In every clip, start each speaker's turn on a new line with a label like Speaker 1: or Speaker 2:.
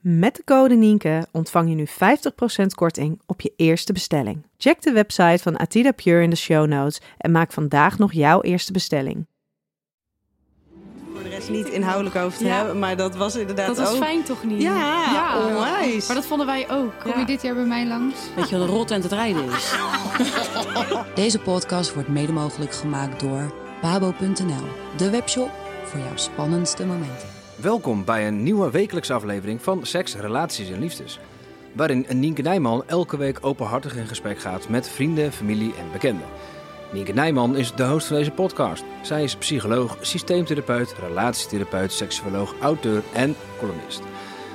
Speaker 1: Met de code Nienke ontvang je nu 50% korting op je eerste bestelling. Check de website van Atida Pure in de show notes en maak vandaag nog jouw eerste bestelling.
Speaker 2: Voor de rest niet inhoudelijk over te
Speaker 3: Ja.
Speaker 2: hebben, maar dat was inderdaad
Speaker 3: Dat was
Speaker 2: ook...
Speaker 3: fijn toch niet?
Speaker 2: Ja, onwijs.
Speaker 3: Maar dat vonden wij ook. Kom
Speaker 2: Ja.
Speaker 3: je dit jaar bij mij langs?
Speaker 4: Weet je wat een rot aan het rijden is?
Speaker 5: Deze podcast wordt mede mogelijk gemaakt door babo.nl, de webshop voor jouw spannendste momenten.
Speaker 6: Welkom bij een nieuwe wekelijkse aflevering van Seks, Relaties en Liefdes. Waarin Nienke Nijman elke week openhartig in gesprek gaat met vrienden, familie en bekenden. Nienke Nijman is de host van deze podcast. Zij is psycholoog, systeemtherapeut, relatietherapeut, seksuoloog, auteur en columnist.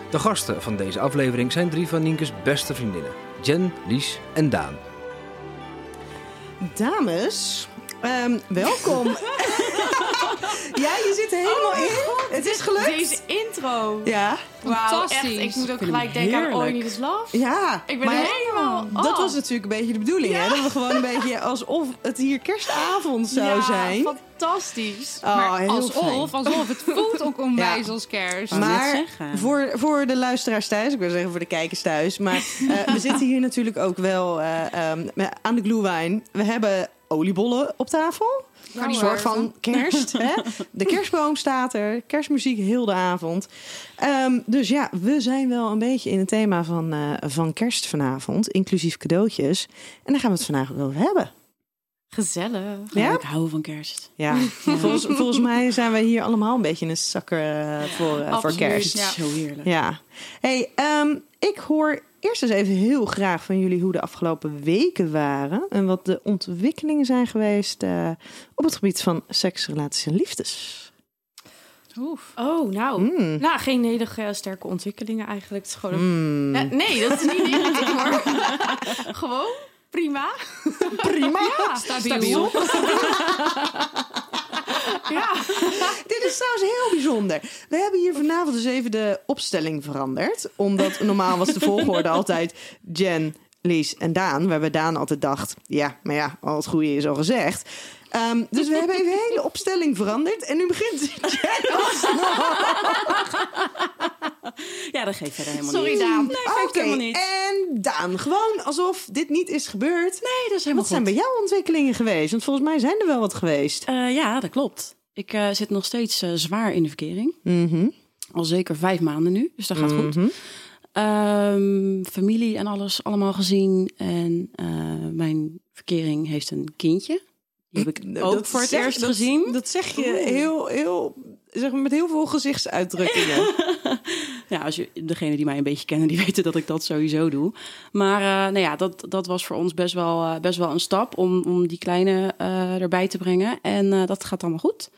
Speaker 6: De gasten van deze aflevering zijn drie van Nienke's beste vriendinnen. Jen, Lies en Daan.
Speaker 2: Dames, ehm, welkom. ja, je zit er helemaal
Speaker 7: Oh
Speaker 2: in. Het is gelukt.
Speaker 7: Deze intro.
Speaker 2: Ja,
Speaker 7: Wauw, echt.
Speaker 3: Fantastisch.
Speaker 7: Ik moet ook
Speaker 2: hem
Speaker 7: gelijk denken aan
Speaker 2: heerlijk.
Speaker 7: All You Need Is Love.
Speaker 2: ja.
Speaker 7: Ik ben helemaal... oh.
Speaker 2: Dat was natuurlijk een beetje de bedoeling, hè? Dat we gewoon een beetje alsof het hier kerstavond zou
Speaker 7: Ja,
Speaker 2: zijn.
Speaker 7: fantastisch.
Speaker 2: Oh, heel fijn.
Speaker 3: alsof, alsof. Het voelt ook onwijs als kerst.
Speaker 4: Wou net
Speaker 2: Maar
Speaker 4: zeggen.
Speaker 2: voor, voor de luisteraars thuis, ik wil zeggen voor de kijkers thuis. Maar eh, we zitten hier natuurlijk ook wel eh, ehm, met- aan de glühwein. We hebben oliebollen op tafel.
Speaker 3: Nou,
Speaker 2: een
Speaker 3: hoor.
Speaker 2: soort van kerst. Hè? De kerstboom staat er. Kerstmuziek heel de avond. Ehm, dus ja, we zijn wel een beetje in het thema van, eh, van kerst vanavond. Inclusief cadeautjes. En daar gaan we het vandaag ook over hebben.
Speaker 7: Gezellig.
Speaker 2: Ja?
Speaker 4: Ik hou van kerst.
Speaker 2: Ja, volgens, volgens mij zijn we hier allemaal een beetje een zakker eh, voor, eh, voor
Speaker 7: Absoluut,
Speaker 2: kerst.
Speaker 7: Ja.
Speaker 4: Zo heerlijk.
Speaker 2: Ja. Hey, ehm, ik hoor eerst eens even heel graag van jullie hoe de afgelopen weken waren. En wat de ontwikkelingen zijn geweest eh, op het gebied van seks, relaties en liefdes.
Speaker 3: Oef.
Speaker 7: Oh, nou.
Speaker 4: Hmm.
Speaker 2: Mm.
Speaker 7: Nou, geen hele eh, sterke ontwikkelingen eigenlijk. Het is gewoon... een-
Speaker 2: Mm.
Speaker 7: Eh, nee, dat is niet negatief hoor. gewoon prima.
Speaker 2: prima.
Speaker 7: Ja,
Speaker 3: Stabiel.
Speaker 7: Ja.
Speaker 2: Dit is trouwens heel bijzonder. We hebben hier vanavond dus even de opstelling veranderd. Omdat normaal was de volgorde altijd Jen, Lies en Daan. Waarbij Daan altijd dacht, ja, maar ja, al het goede is al gezegd. Ehm, dus we hebben even de hele opstelling veranderd. En nu begint Jen alsnog.
Speaker 4: Ja, dat geeft verder helemaal
Speaker 7: Sorry
Speaker 4: niet.
Speaker 7: Daan.
Speaker 4: Nee, geeft
Speaker 2: Oké,
Speaker 4: helemaal niet.
Speaker 2: En Daan, gewoon alsof dit niet is gebeurd.
Speaker 4: Nee, dat is
Speaker 2: Wat
Speaker 4: helemaal
Speaker 2: zijn
Speaker 4: goed.
Speaker 2: bij jou ontwikkelingen geweest? Want volgens mij zijn er wel wat geweest.
Speaker 4: Eh, ja, dat klopt. Ik eh, zit nog steeds eh, zwaar in de verkering.
Speaker 2: Mhm.
Speaker 4: Al zeker vijf maanden nu, dus dat gaat goed.
Speaker 2: Mhm.
Speaker 4: Ehm, familie en alles allemaal gezien. En eh, mijn verkering heeft een kindje. Die heb ik ook voor het
Speaker 2: zeg-
Speaker 4: eerst
Speaker 2: dat-
Speaker 4: gezien.
Speaker 2: Dat zeg je heel, heel, zeg maar met heel veel gezichtsuitdrukkingen.
Speaker 4: Ja, als je, degene die mij een beetje kennen, die weten dat ik dat sowieso doe. Maar eh, nou ja, dat, dat was voor ons best wel, eh, best wel een stap om, om die kleine eh, erbij te brengen. En eh, dat gaat allemaal goed.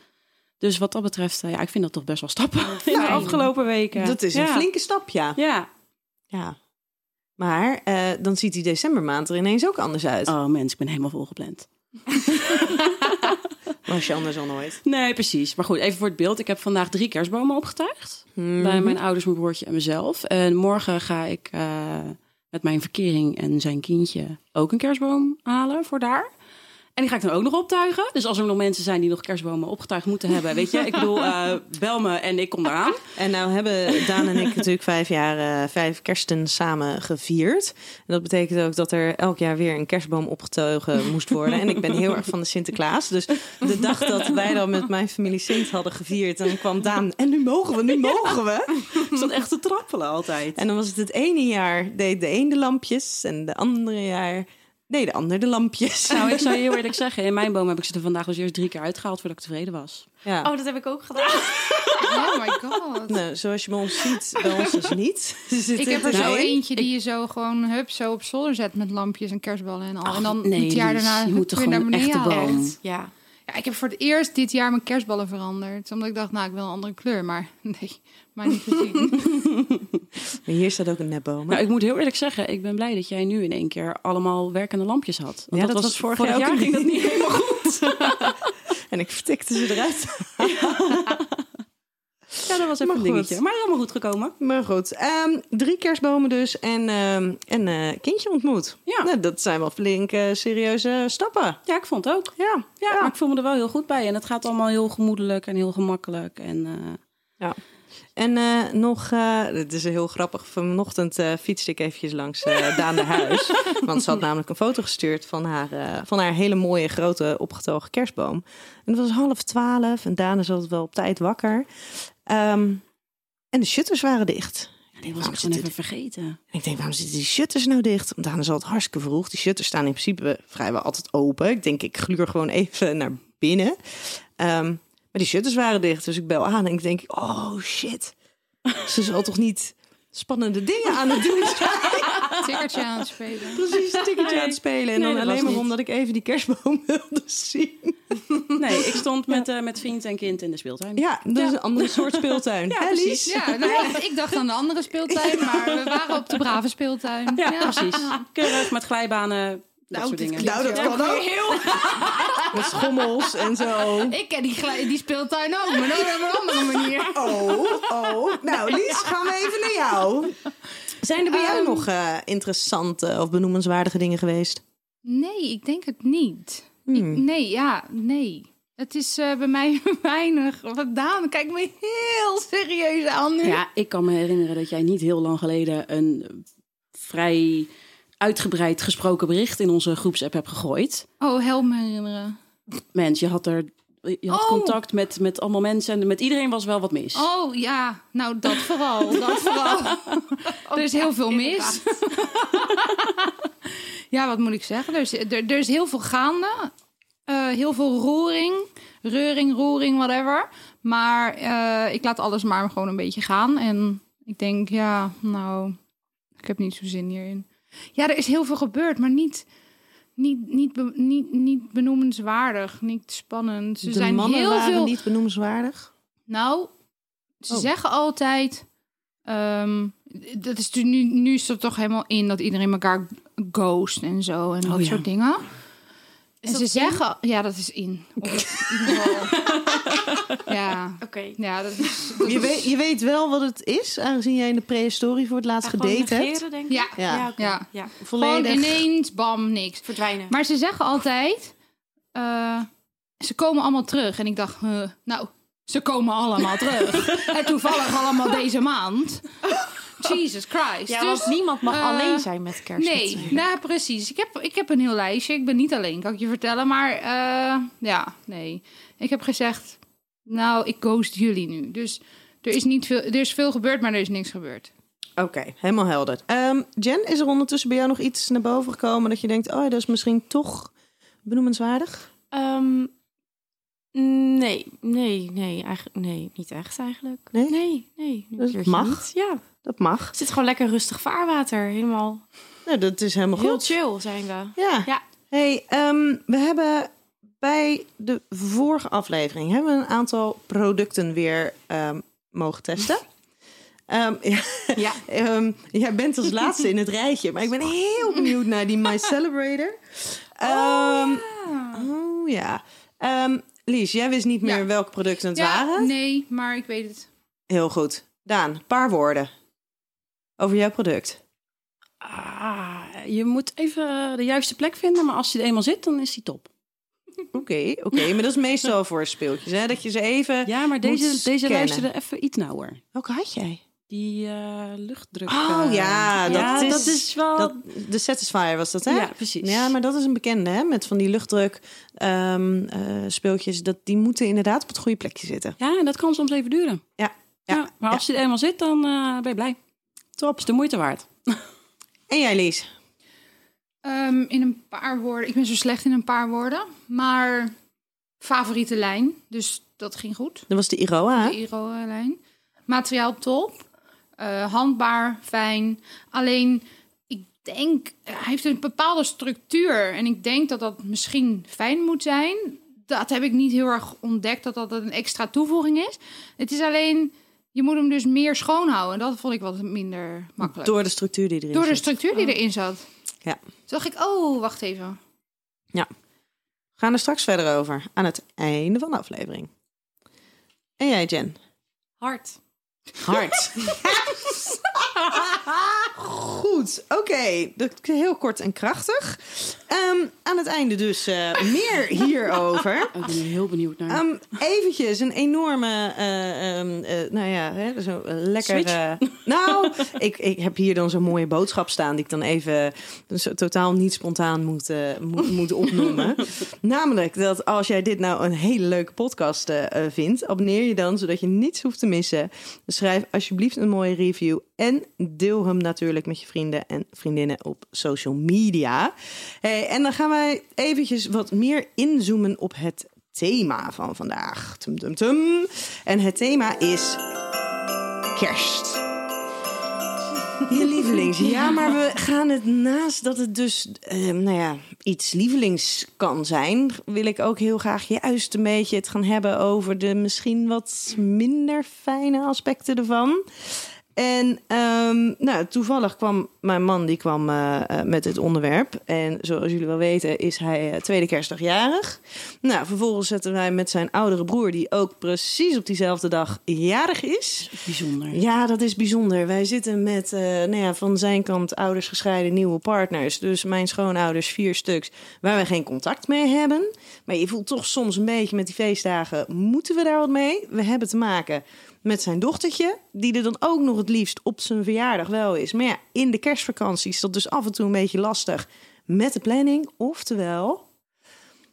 Speaker 4: Dus wat dat betreft, eh, ja, ik vind dat toch best wel stappen in de
Speaker 2: fijn.
Speaker 4: afgelopen weken.
Speaker 2: dat is een
Speaker 4: Ja.
Speaker 2: flinke stap, ja.
Speaker 4: Ja.
Speaker 2: ja. Maar eh, dan ziet die decembermaand er ineens ook anders uit.
Speaker 4: Oh mens, ik ben helemaal volgepland.
Speaker 2: Was je anders al nooit.
Speaker 4: Nee, precies. Maar goed, even voor het beeld. Ik heb vandaag drie kerstbomen opgetuigd.
Speaker 2: Hmm.
Speaker 4: Bij mijn ouders, mijn broertje en mezelf. En morgen ga ik eh, met mijn verkering en zijn kindje ook een kerstboom halen voor daar. En die ga ik dan ook nog optuigen. Dus als er nog mensen zijn die nog kerstbomen opgetuigd moeten hebben, weet je, ik bedoel, eh, bel me en ik kom eraan.
Speaker 2: En nou hebben Daan en ik natuurlijk vijf jaar, eh, vijf kersten samen gevierd. En dat betekent ook dat er elk jaar weer een kerstboom opgetogen moest worden. En ik ben heel erg van de Sinterklaas. Dus de dag dat wij dan met mijn familie Sint hadden gevierd, dan kwam Daan. En nu mogen we, nu mogen we.
Speaker 4: Ik stond echt te trappelen altijd.
Speaker 2: En dan was het het ene jaar deed de een de lampjes en de andere jaar deed de ander de lampjes.
Speaker 4: Nou, ik zou je heel eerlijk zeggen, in mijn boom heb ik ze er vandaag als eerst drie keer uitgehaald voordat ik tevreden was.
Speaker 2: Ja.
Speaker 7: Oh, dat heb ik ook gedaan.
Speaker 3: Oh my god.
Speaker 2: Nou, zoals je bij ons ziet, bij ons dus niet. Ze
Speaker 3: Ik
Speaker 2: zitten
Speaker 3: heb er
Speaker 2: erin.
Speaker 3: zo eentje die je zo gewoon hup zo op zolder zet met lampjes en kerstballen en al.
Speaker 4: Ach,
Speaker 3: en dan
Speaker 4: nee,
Speaker 3: het jaar
Speaker 4: Lies,
Speaker 3: daarna
Speaker 4: je
Speaker 3: hup,
Speaker 4: moet toch
Speaker 3: weer naar
Speaker 4: gewoon een
Speaker 3: beneden
Speaker 4: echte
Speaker 3: halen.
Speaker 4: boom.
Speaker 7: Ja.
Speaker 3: Ja, ik heb voor het eerst dit jaar mijn kerstballen veranderd. Omdat ik dacht, nou, ik wil een andere kleur. Maar nee, maar niet gezien.
Speaker 2: Maar hier staat ook een nepboom.
Speaker 4: Nou, ik moet heel eerlijk zeggen, ik ben blij dat jij nu in één keer allemaal werkende lampjes had. Want dat,
Speaker 2: Ja, dat
Speaker 4: was
Speaker 2: was
Speaker 4: vorig
Speaker 2: voor
Speaker 4: jaar,
Speaker 2: elke
Speaker 4: ging dat niet helemaal goed.
Speaker 2: En ik vertikte ze eruit.
Speaker 4: Ja, dat was even
Speaker 2: Maar
Speaker 4: een
Speaker 2: goed.
Speaker 4: dingetje. Maar dat is allemaal goed gekomen.
Speaker 2: Maar goed, ehm, drie kerstbomen dus en ehm, een eh, kindje ontmoet.
Speaker 4: Ja.
Speaker 2: Nou, dat zijn wel flinke, serieuze stappen.
Speaker 4: Ja, ik vond het ook.
Speaker 2: Ja,
Speaker 4: Ja, maar ik voel me er wel heel goed bij. En het gaat allemaal heel gemoedelijk en heel gemakkelijk. En eh,
Speaker 2: En eh, nog, eh dit is heel grappig, vanochtend eh, fietste ik eventjes langs eh Daan de Huis. Want ze had namelijk een foto gestuurd van haar, eh, van haar hele mooie grote opgetogen kerstboom. En het was half twaalf en Daan is altijd wel op tijd wakker. Ehm, en de shutters waren dicht.
Speaker 4: die was
Speaker 2: waarom
Speaker 4: ik
Speaker 2: zit
Speaker 4: gewoon even
Speaker 2: dit-
Speaker 4: vergeten.
Speaker 2: En ik denk, waarom zitten die shutters nou dicht? Want Daan is altijd hartstikke vroeg. Die shutters staan in principe vrijwel altijd open. Ik denk, ik gluur gewoon even naar binnen. Ehm, maar die shutters waren dicht, dus ik bel aan en ik denk, oh shit. Ze zal toch niet spannende dingen aan het doen zijn?
Speaker 3: Tikkertje aan het spelen.
Speaker 2: Precies, een ticketje aan het spelen. En
Speaker 4: Nee,
Speaker 2: dan
Speaker 4: dat
Speaker 2: alleen
Speaker 4: was
Speaker 2: maar
Speaker 4: niet.
Speaker 2: omdat ik even die kerstboom wilde zien.
Speaker 4: Nee, ik stond met, eh, met vriend en kind in de speeltuin.
Speaker 2: Ja, dat is een andere soort speeltuin.
Speaker 4: Ja,
Speaker 2: Hè,
Speaker 4: precies.
Speaker 2: Lies?
Speaker 3: Ja, nou, ik- ik dacht aan de andere speeltuin, maar we waren op de brave speeltuin.
Speaker 4: Ja, precies. Keurig met glijbanen, dat soort dingen.
Speaker 2: Nou, dat kan ook. Met schommels en zo.
Speaker 3: Ik ken die, glij- die speeltuin ook, maar dan op een andere manier.
Speaker 2: Oh, oh. Nou, Lies, gaan we even naar jou. Zijn er bij jou nog eh, interessante of benoemenswaardige dingen geweest?
Speaker 3: Nee, ik denk het niet. Ik- nee, ja, nee. Het is eh, bij mij weinig. Wat Daan, kijk me heel serieus aan nu.
Speaker 4: Ja, ik kan me herinneren dat jij niet heel lang geleden een vrij uitgebreid gesproken bericht in onze groepsapp hebt gegooid.
Speaker 3: Oh, help me herinneren.
Speaker 4: Mens, je had er je had
Speaker 3: Oh.
Speaker 4: contact met, met allemaal mensen en met iedereen was wel wat mis.
Speaker 3: Oh ja, nou dat vooral, dat vooral. er is heel veel mis. ja, wat moet ik zeggen? Dus, Er is, er, er is heel veel gaande. Eh, heel veel roering. Reuring, roering, whatever. Maar eh, ik laat alles maar gewoon een beetje gaan. En ik denk, ja, nou, ik heb niet zo zin hierin. Ja, er is heel veel gebeurd, maar niet... Niet, niet, be- niet, niet benoemenswaardig, niet spannend. Ze
Speaker 2: De
Speaker 3: zijn
Speaker 2: mannen
Speaker 3: heel
Speaker 2: waren
Speaker 3: veel...
Speaker 2: niet benoemenswaardig.
Speaker 3: Nou, ze
Speaker 2: Oh.
Speaker 3: zeggen altijd. ehm, dat is nu, nu is er toch helemaal in dat iedereen elkaar ghost en zo en
Speaker 2: Oh,
Speaker 3: dat
Speaker 4: ja.
Speaker 3: soort dingen. en ze zeggen, ja, dat is in. Of in ieder geval. ja,
Speaker 7: Oké.
Speaker 3: ja, dat is. dat
Speaker 2: Je
Speaker 3: is-
Speaker 2: weet, je weet wel wat het is, aangezien jij in de prehistorie voor het laatst gedate hebt.
Speaker 7: denk ik.
Speaker 3: Ja,
Speaker 2: Ja.
Speaker 7: oké.
Speaker 3: ja.
Speaker 7: ja.
Speaker 3: gewoon
Speaker 2: Volledig.
Speaker 3: ineens, bam, niks.
Speaker 7: Verdwijnen.
Speaker 3: Maar ze zeggen altijd, eh, ze komen allemaal terug. En ik dacht, eh, nou, ze komen allemaal terug. en toevallig allemaal deze maand. Jesus Christ.
Speaker 7: ja,
Speaker 3: dus
Speaker 7: want niemand mag
Speaker 3: eh,
Speaker 7: alleen zijn met kerst.
Speaker 3: Nee, nou precies. Ik heb, ik heb een heel lijstje. Ik ben niet alleen, kan ik je vertellen. Maar eh, ja, nee. Ik heb gezegd, nou, ik ghost jullie nu. Dus er is, niet veel, er is veel gebeurd, maar er is niks gebeurd.
Speaker 2: Oké, helemaal helder. Ehm, Jen, is er ondertussen bij jou nog iets naar boven gekomen dat je denkt, oh, dat is misschien toch benoemenswaardig?
Speaker 7: Ehm, nee, nee, nee, eigenlijk, nee, niet echt eigenlijk.
Speaker 2: Nee?
Speaker 7: nee, nee. een
Speaker 2: Dus het
Speaker 7: keertje
Speaker 2: mag?
Speaker 7: niet. Ja,
Speaker 2: Dat mag.
Speaker 7: het zit gewoon lekker rustig vaarwater, helemaal.
Speaker 2: Nou, dat is helemaal
Speaker 7: Heel
Speaker 2: goed.
Speaker 7: chill zijn we.
Speaker 2: Ja.
Speaker 7: Ja.
Speaker 2: Hey, ehm, we hebben bij de vorige aflevering hebben we een aantal producten weer ehm, mogen testen. Ehm, ja,
Speaker 7: Ja.
Speaker 2: ehm, jij bent als laatste in het rijtje, maar ik ben heel benieuwd naar die My Celebrator. Ehm, oh ja. Ehm, Lies, jij wist niet meer
Speaker 3: Ja.
Speaker 2: welke producten het waren.
Speaker 3: nee, maar ik weet het.
Speaker 2: Heel goed. Daan, een paar woorden over jouw product.
Speaker 4: Ah, je moet even de juiste plek vinden, maar als hij er eenmaal zit, dan is hij top.
Speaker 2: Oké, oké. Maar dat is meestal voor speeltjes, hè? Dat je ze even...
Speaker 4: Ja, maar
Speaker 2: Moet
Speaker 4: deze, deze
Speaker 2: scannen.
Speaker 4: luisterde even iets nauwer.
Speaker 2: Welke had jij?
Speaker 4: Die eh, luchtdruk.
Speaker 2: Oh
Speaker 4: eh,
Speaker 2: ja, dat, is,
Speaker 4: wel...
Speaker 2: dat, de Satisfier was dat, hè?
Speaker 4: ja, precies.
Speaker 2: Oh. Ja, maar dat is een bekende, hè? Met van die luchtdruk ehm, eh, speeltjes. Dat, die moeten inderdaad op het goede plekje zitten.
Speaker 4: Ja, en dat kan soms even duren.
Speaker 2: Ja, ja,
Speaker 4: Ja, maar als je er eenmaal zit, dan eh, ben je blij. Top. Is de moeite waard.
Speaker 2: En jij, Lies?
Speaker 3: Ehm, in een paar woorden. Ik ben zo slecht in een paar woorden. Maar favoriete lijn. Dus dat ging goed.
Speaker 2: Dat was de Iroa, hè?
Speaker 3: De Iro-lijn. Materiaal top. Eh, handbaar, fijn. Alleen, ik denk, hij heeft een bepaalde structuur. En ik denk dat dat misschien fijn moet zijn. Dat heb ik niet heel erg ontdekt, dat dat een extra toevoeging is. Het is alleen, je moet hem dus meer schoonhouden. Dat vond ik wat minder makkelijk.
Speaker 2: Door de structuur die erin
Speaker 3: Door de
Speaker 2: zit.
Speaker 3: structuur die erin zat.
Speaker 2: Ja.
Speaker 3: Toen dacht ik, oh, wacht even.
Speaker 2: We gaan er straks verder over. Aan het einde van de aflevering. En jij, Jen?
Speaker 4: Hard.
Speaker 2: Hard. Goed, oké. Dat is Heel kort en krachtig. Ehm, aan het einde dus eh, meer hierover.
Speaker 4: Ik ben er heel benieuwd naar.
Speaker 2: Ehm eventjes een enorme, eh, ehm, eh, nou ja, hè, zo lekker.
Speaker 4: Switch?
Speaker 2: eh, nou, ik, ik heb hier dan zo'n mooie boodschap staan die ik dan even zo totaal niet spontaan moet, eh, moet, moet opnoemen. Namelijk dat als jij dit nou een hele leuke podcast eh, eh, vindt, abonneer je dan zodat je niets hoeft te missen. Schrijf alsjeblieft een mooie review en deel hem natuurlijk met je vrienden en vriendinnen op social media. Hey, en dan gaan wij eventjes wat meer inzoomen op het thema van vandaag. Tum, tum, tum. En het thema is kerst. Je lievelings. Ja, maar we gaan het naast dat het dus eh, nou ja, iets lievelings kan zijn, wil ik ook heel graag juist een beetje het gaan hebben over de misschien wat minder fijne aspecten ervan. En ehm, nou, toevallig kwam mijn man die kwam, eh, eh, met het onderwerp. En zoals jullie wel weten is hij eh, tweede kerstdag jarig. Nou, vervolgens zetten wij met zijn oudere broer, die ook precies op diezelfde dag jarig is.
Speaker 4: Bijzonder.
Speaker 2: Ja, dat is bijzonder. Wij zitten met eh, nou ja, van zijn kant ouders gescheiden, nieuwe partners. Dus mijn schoonouders, vier stuks, waar we geen contact mee hebben. Maar je voelt toch soms een beetje met die feestdagen, moeten we daar wat mee? We hebben te maken met zijn dochtertje, die er dan ook nog het liefst op zijn verjaardag wel is. Maar ja, in de kerstvakantie is dat dus af en toe een beetje lastig met de planning. Oftewel,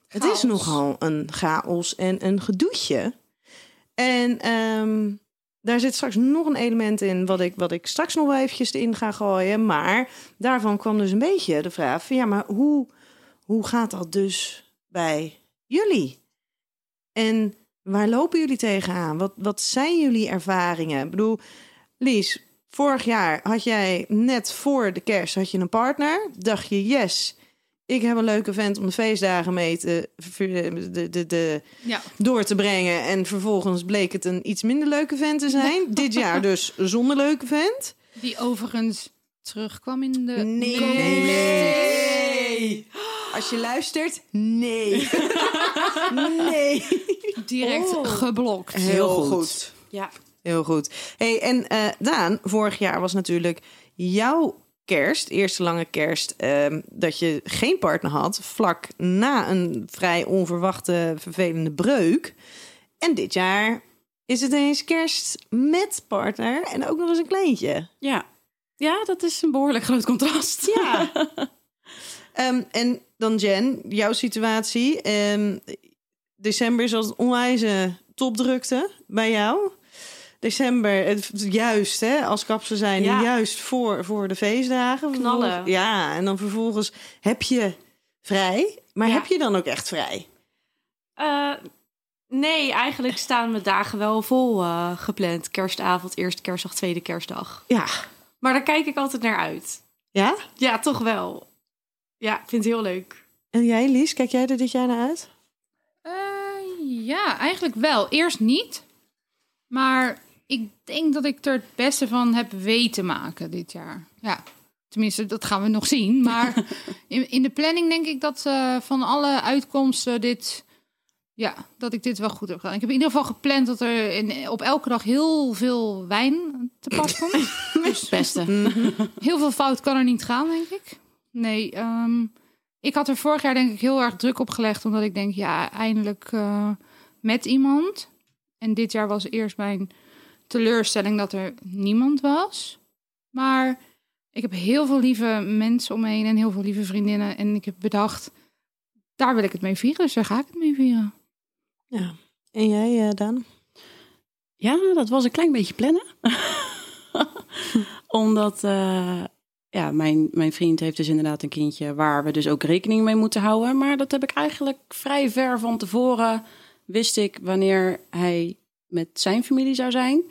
Speaker 2: het is nogal een chaos en een gedoetje. En ehm, daar zit straks nog een element in wat ik, wat ik straks nog wel eventjes in ga gooien. Maar daarvan kwam dus een beetje de vraag van ja, maar hoe, hoe gaat dat dus bij jullie? En waar lopen jullie tegenaan? Wat, wat zijn jullie ervaringen? Ik bedoel, Lies, vorig jaar had jij net voor de kerst had je een partner. Dacht je, yes, ik heb een leuke vent om de feestdagen mee te... De, de, de,
Speaker 3: Ja.
Speaker 2: door te brengen. En vervolgens bleek het een iets minder leuke vent te zijn. Dit jaar dus zonder leuke vent.
Speaker 3: Die overigens terugkwam in de...
Speaker 2: Als je luistert, nee. nee.
Speaker 3: Direct geblokt.
Speaker 2: Heel goed.
Speaker 4: Ja.
Speaker 2: Heel goed. Hey, en eh, Daan, vorig jaar was natuurlijk jouw kerst, eerste lange kerst, ehm, dat je geen partner had, vlak na een vrij onverwachte, vervelende breuk. En dit jaar is het eens kerst met partner en ook nog eens een kleintje.
Speaker 4: Ja. ja, dat is een behoorlijk groot contrast.
Speaker 2: Ja. Ehm, en dan Jen, jouw situatie. Ehm, december is altijd onwijze topdrukte bij jou. December, het, juist hè, als kapsen zijn,
Speaker 4: Ja.
Speaker 2: juist voor, voor de feestdagen.
Speaker 4: Knallen.
Speaker 2: Vervolgens- Ja, en dan vervolgens heb je vrij. Maar
Speaker 7: Ja.
Speaker 2: heb je dan ook echt vrij?
Speaker 7: Eh, nee, eigenlijk staan mijn dagen wel vol eh, gepland. Kerstavond, eerste kerstdag, tweede kerstdag.
Speaker 2: Ja.
Speaker 7: Maar daar kijk ik altijd naar uit.
Speaker 2: Ja?
Speaker 7: Ja, toch wel. Ja, ik vind het heel leuk.
Speaker 2: En jij, Lies, kijk jij er dit jaar naar uit?
Speaker 3: Eh, ja, eigenlijk wel. Eerst niet. Maar ik denk dat ik er het beste van heb weten maken dit jaar. Ja, tenminste, dat gaan we nog zien. Maar in, in de planning denk ik dat eh, van alle uitkomsten dit... Ja, dat ik dit wel goed heb gedaan. Ik heb in ieder geval gepland dat er in, op elke dag heel veel wijn te pas komt.
Speaker 4: Het beste.
Speaker 3: Heel veel fout kan er niet gaan, denk ik. Nee, ehm, Ik had er vorig jaar denk ik heel erg druk op gelegd. Omdat ik denk, ja, eindelijk eh, met iemand. En dit jaar was eerst mijn teleurstelling dat er niemand was. Maar ik heb heel veel lieve mensen om me heen en heel veel lieve vriendinnen. En ik heb bedacht, daar wil ik het mee vieren. Dus daar ga ik het mee vieren.
Speaker 2: En jij, eh Daan?
Speaker 4: Ja, dat was een klein beetje plannen. Omdat eh, ja, mijn, mijn vriend heeft dus inderdaad een kindje waar we dus ook rekening mee moeten houden. Maar dat heb ik eigenlijk vrij ver van tevoren wist ik wanneer hij met zijn familie zou zijn.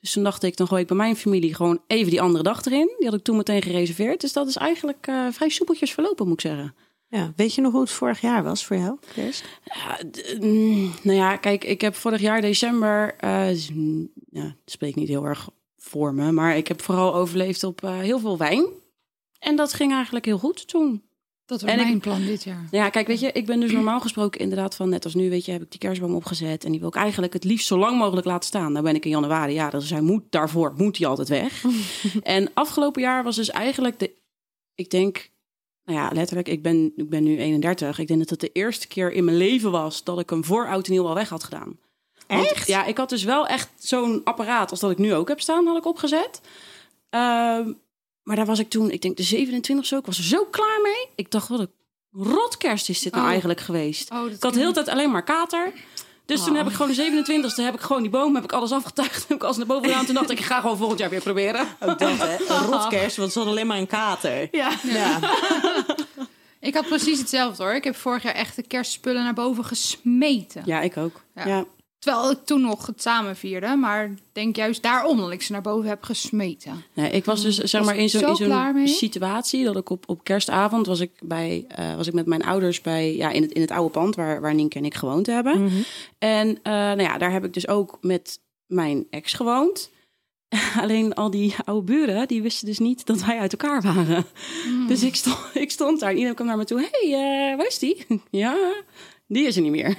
Speaker 4: Dus toen dacht ik, dan gooi ik bij mijn familie gewoon even die andere dag erin. Die had ik toen meteen gereserveerd. Dus dat is eigenlijk eh, vrij soepeltjes verlopen, moet ik zeggen.
Speaker 2: Ja, weet je nog hoe het vorig jaar was voor jou, Kirst?
Speaker 4: Ja, d- mm, nou ja, kijk, ik heb vorig jaar december, eh, z- mm, ja, dat spreekt niet heel erg voor me, maar ik heb vooral overleefd op eh, heel veel wijn. En dat ging eigenlijk heel goed toen.
Speaker 3: Dat was
Speaker 4: En ik-
Speaker 3: mijn plan dit jaar.
Speaker 4: Nou Ja, kijk, weet je, ik ben dus normaal gesproken inderdaad van net als nu, weet je, heb ik die kerstboom opgezet en die wil ik eigenlijk het liefst zo lang mogelijk laten staan. Nou ben ik in januari, ja, dus hij moet daarvoor, moet hij altijd weg. en afgelopen jaar was dus eigenlijk de, ik denk, nou ja, letterlijk, ik ben, ik ben nu 31. Ik denk dat het de eerste keer in mijn leven was dat ik hem voor oud en nieuw al weg had gedaan. Want, ja, ik had dus wel echt zo'n apparaat als dat ik nu ook heb staan, had ik opgezet. Ehm, maar daar was ik toen, ik denk de 27 zo, ik was er zo klaar mee. Ik dacht, wat een rotkerst is dit nou
Speaker 3: Oh.
Speaker 4: eigenlijk geweest.
Speaker 3: Oh, dat
Speaker 4: ik had de hele tijd alleen maar kater. Dus toen
Speaker 2: Oh.
Speaker 4: heb ik gewoon de 27e, heb ik gewoon die boom, heb ik alles afgetuigd, heb ik alles naar boven gedaan. Toen dacht ik, ik ga gewoon volgend jaar weer proberen.
Speaker 2: Ook Oh, dat, hè? Een rotkerst, want ze hadden alleen maar een kater.
Speaker 4: Ja.
Speaker 2: Ja.
Speaker 3: Ik had precies hetzelfde hoor. Ik heb vorig jaar echt de kerstspullen naar boven gesmeten.
Speaker 4: Ja, ik ook.
Speaker 3: Ja.
Speaker 4: ja.
Speaker 3: Terwijl ik toen nog het samen vierde. Maar ik denk juist daarom dat ik ze naar boven heb gesmeten.
Speaker 4: Nee, ik was dus zeg
Speaker 3: Was
Speaker 4: maar in zo'n
Speaker 3: zo
Speaker 4: in zo'n
Speaker 3: klaar mee?
Speaker 4: situatie dat ik op, op kerstavond was ik, bij, eh, was ik met mijn ouders bij, ja, in, het, in het oude pand waar, waar Nienke en ik gewoond hebben.
Speaker 3: Mhm.
Speaker 4: En eh, nou ja, daar heb ik dus ook met mijn ex gewoond. Alleen al die oude buren, die wisten dus niet dat wij uit elkaar waren.
Speaker 3: Mm.
Speaker 4: Dus ik stond, ik stond daar en iedereen kwam naar me toe. hey, eh, waar is die? ja, die is er niet meer.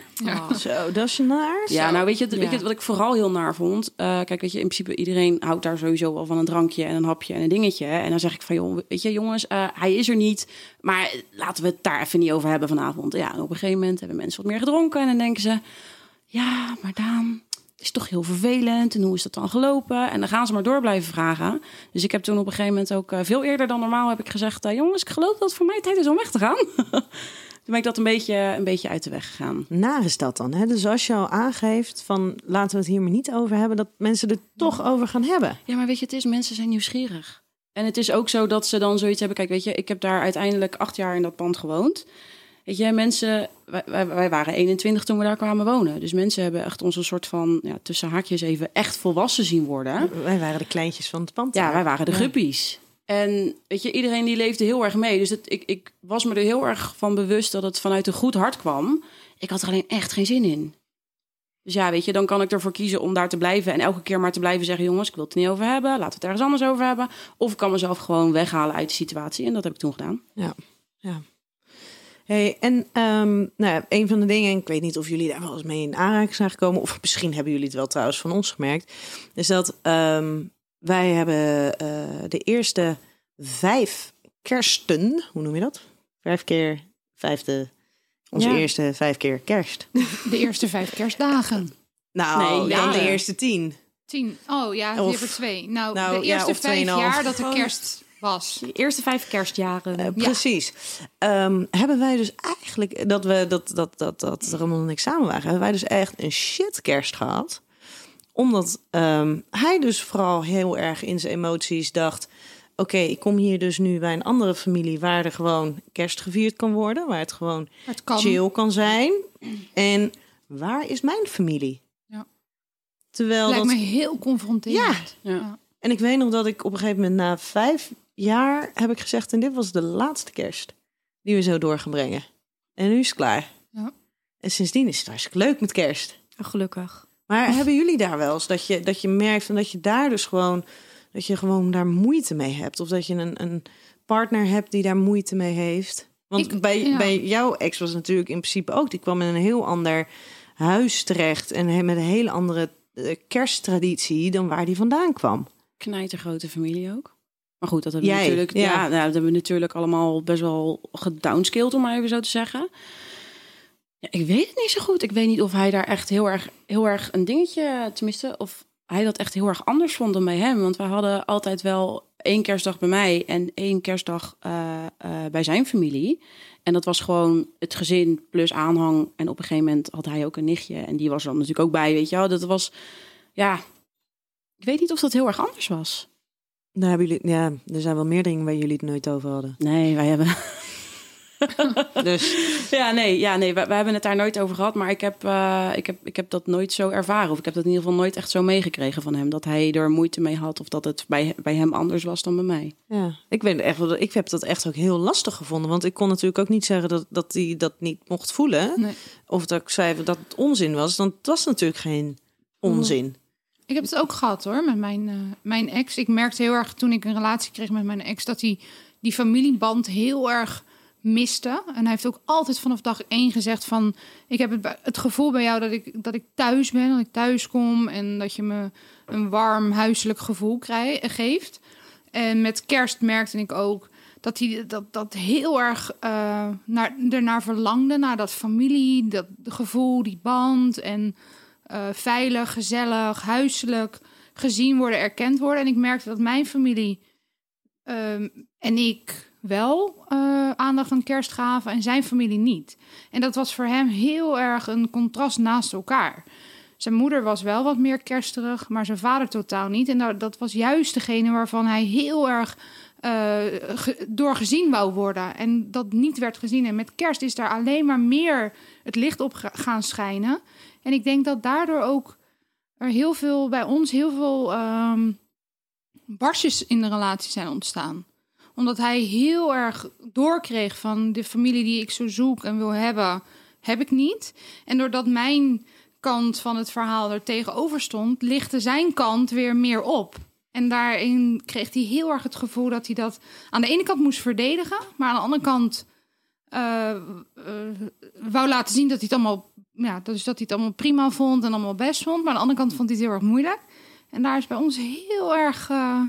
Speaker 2: Zo, dat is naar.
Speaker 4: Ja, nou weet je, het-
Speaker 7: Ja.
Speaker 4: weet je wat ik vooral heel naar vond? Eh, kijk, weet je, in principe iedereen houdt daar sowieso wel van een drankje en een hapje en een dingetje. En dan zeg ik van, joh, weet je, jongens, eh, hij is er niet, maar laten we het daar even niet over hebben vanavond. Ja, en op een gegeven moment hebben mensen wat meer gedronken en dan denken ze, ja, maar Daan, het is toch heel vervelend en hoe is dat dan gelopen? En dan gaan ze maar door blijven vragen. Dus ik heb toen op een gegeven moment ook eh, veel eerder dan normaal heb ik gezegd, eh, jongens, ik geloof dat het voor mij tijd is om weg te gaan. toen ben ik dat een beetje, een beetje uit de weg gegaan.
Speaker 2: Naar is dat dan, hè? Dus als je al aangeeft van laten we het hier maar niet over hebben, dat mensen er toch over gaan hebben.
Speaker 4: Ja, maar weet je, het is, mensen zijn nieuwsgierig. En het is ook zo dat ze dan zoiets hebben. Kijk, weet je, ik heb daar uiteindelijk acht jaar in dat pand gewoond. Weet je, mensen, wij, wij, wij waren 21 toen we daar kwamen wonen. Dus mensen hebben echt ons een soort van, ja, tussen haakjes even, echt volwassen zien worden.
Speaker 2: Wij waren de kleintjes van het pand.
Speaker 4: Ja, wij waren de guppies. En weet je, iedereen die leefde heel erg mee. Dus het, ik, ik was me er heel erg van bewust dat het vanuit een goed hart kwam. Ik had er alleen echt geen zin in. Dus ja, weet je, dan kan ik ervoor kiezen om daar te blijven. En elke keer maar te blijven zeggen, jongens, ik wil het er niet over hebben. Laten we het ergens anders over hebben. Of ik kan mezelf gewoon weghalen uit de situatie. En dat heb ik toen gedaan.
Speaker 2: Hey, en ehm, nou, ja, een van de dingen, en ik weet niet of jullie daar wel eens mee in aanraking zijn gekomen, of misschien hebben jullie het wel trouwens van ons gemerkt, is dat ehm, wij hebben eh, de eerste vijf kersten, hoe noem je dat? Vijf keer vijfde, onze
Speaker 4: Ja.
Speaker 2: eerste vijf keer kerst.
Speaker 3: De eerste vijf kerstdagen.
Speaker 4: Nee,
Speaker 2: Nou, dan de
Speaker 4: jaren.
Speaker 2: eerste tien.
Speaker 3: Tien. Oh ja,
Speaker 2: Of-
Speaker 3: weer voor twee. Nou,
Speaker 2: nou,
Speaker 3: de
Speaker 2: ja,
Speaker 3: eerste
Speaker 2: of
Speaker 3: vijf
Speaker 2: tweeënhalf.
Speaker 3: jaar dat er kerst was.
Speaker 7: De eerste vijf kerstjaren.
Speaker 2: Eh, Precies. Ehm, hebben wij dus eigenlijk, dat we dat, dat, dat, dat Ramon en ik samen waren, hebben wij dus echt een shit kerst gehad. Omdat ehm, hij dus vooral heel erg in zijn emoties dacht. Oké, ik kom hier dus nu bij een andere familie waar er gewoon kerst gevierd kan worden. Waar het gewoon
Speaker 3: Het kan.
Speaker 2: chill kan zijn. En waar is mijn familie?
Speaker 3: Ja.
Speaker 2: Terwijl
Speaker 3: Lijkt
Speaker 2: dat
Speaker 3: me heel confronterend.
Speaker 4: Ja.
Speaker 2: en ik weet nog dat ik op een gegeven moment na vijf jaar heb ik gezegd... en dit was de laatste kerst die we zo door gaan brengen. En nu is het klaar.
Speaker 3: Ja. Oh,
Speaker 2: En sindsdien is het hartstikke leuk met kerst.
Speaker 7: Gelukkig.
Speaker 2: Maar hebben jullie daar wel eens dat je, dat je merkt... en dat je daar dus gewoon, dat je gewoon daar moeite mee hebt? Of dat je een, een partner hebt die daar moeite mee heeft? Want
Speaker 3: Ik-
Speaker 2: bij,
Speaker 3: ja.
Speaker 2: bij jouw ex was het natuurlijk in principe ook... die kwam in een heel ander huis terecht... en he- met een hele andere eh, kersttraditie dan waar die vandaan kwam.
Speaker 4: Knijtergrote familie ook. Maar goed, dat hebben we
Speaker 2: Jij,
Speaker 4: natuurlijk. Ja,
Speaker 2: ja.
Speaker 4: nou, dat hebben we natuurlijk allemaal best wel gedownscaled, om maar even zo te zeggen. Ja, ik weet het niet zo goed. Ik weet niet of hij daar echt heel erg, heel erg een dingetje, tenminste, of hij dat echt heel erg anders vond dan bij hem. Want we hadden altijd wel één kerstdag bij mij en één kerstdag eh, eh, bij zijn familie. En dat was gewoon het gezin plus aanhang. En op een gegeven moment had hij ook een nichtje. En die was er dan natuurlijk ook bij, weet je wel. Dat was, ja, ik weet niet of dat heel erg anders was.
Speaker 1: Nou, hebben jullie, ja, er zijn wel meer dingen waar jullie het nooit over hadden.
Speaker 4: Nee, wij hebben...
Speaker 1: Dus
Speaker 4: Ja, nee, ja, nee we, we hebben het daar nooit over gehad. Maar ik heb, eh, ik, heb, ik heb dat nooit zo ervaren. Of ik heb dat in ieder geval nooit echt zo meegekregen van hem. Dat hij er moeite mee had. Of dat het bij, bij hem anders was dan bij mij.
Speaker 1: ja, ik, weet echt, wel dat- ik heb dat echt ook heel lastig gevonden. Want ik kon natuurlijk ook niet zeggen dat, dat hij dat niet mocht voelen.
Speaker 3: Nee.
Speaker 1: Of dat ik zei dat het onzin was. Dan het was natuurlijk geen onzin.
Speaker 3: Ik heb het ook gehad hoor met mijn, eh, mijn ex. Ik merkte heel erg toen ik een relatie kreeg met mijn ex dat hij die familieband heel erg miste. En hij heeft ook altijd vanaf dag één gezegd van... ik heb het, bij- het gevoel bij jou dat ik, dat ik thuis ben, dat ik thuis kom... en dat je me een warm huiselijk gevoel krij- geeft. En met kerst merkte ik ook dat hij dat, dat heel erg eh naar, ernaar verlangde... naar dat familie, dat gevoel, die band en eh, veilig, gezellig, huiselijk gezien worden, erkend worden. En ik merkte dat mijn familie ehm, en ik wel eh, aandacht aan kerst gaven en zijn familie niet. En dat was voor hem heel erg een contrast naast elkaar. Zijn moeder was wel wat meer kersterig, maar zijn vader totaal niet. En daar- dat was juist degene waarvan hij heel erg eh, ge- door gezien wou worden. En dat niet werd gezien. En met kerst is daar alleen maar meer het licht op ga- gaan schijnen. En ik denk dat daardoor ook er heel veel bij ons heel veel ehm barstjes in de relatie zijn ontstaan. Omdat hij heel erg doorkreeg van de familie die ik zo zoek en wil hebben, heb ik niet. En doordat mijn kant van het verhaal er tegenover stond, lichtte zijn kant weer meer op. En daarin kreeg hij heel erg het gevoel dat hij dat aan de ene kant moest verdedigen, maar aan de andere kant eh, eh, wou laten zien dat hij het allemaal, ja, dus dat hij het allemaal prima vond en allemaal best vond. Maar aan de andere kant vond hij het heel erg moeilijk. En daar is bij ons heel erg. eh,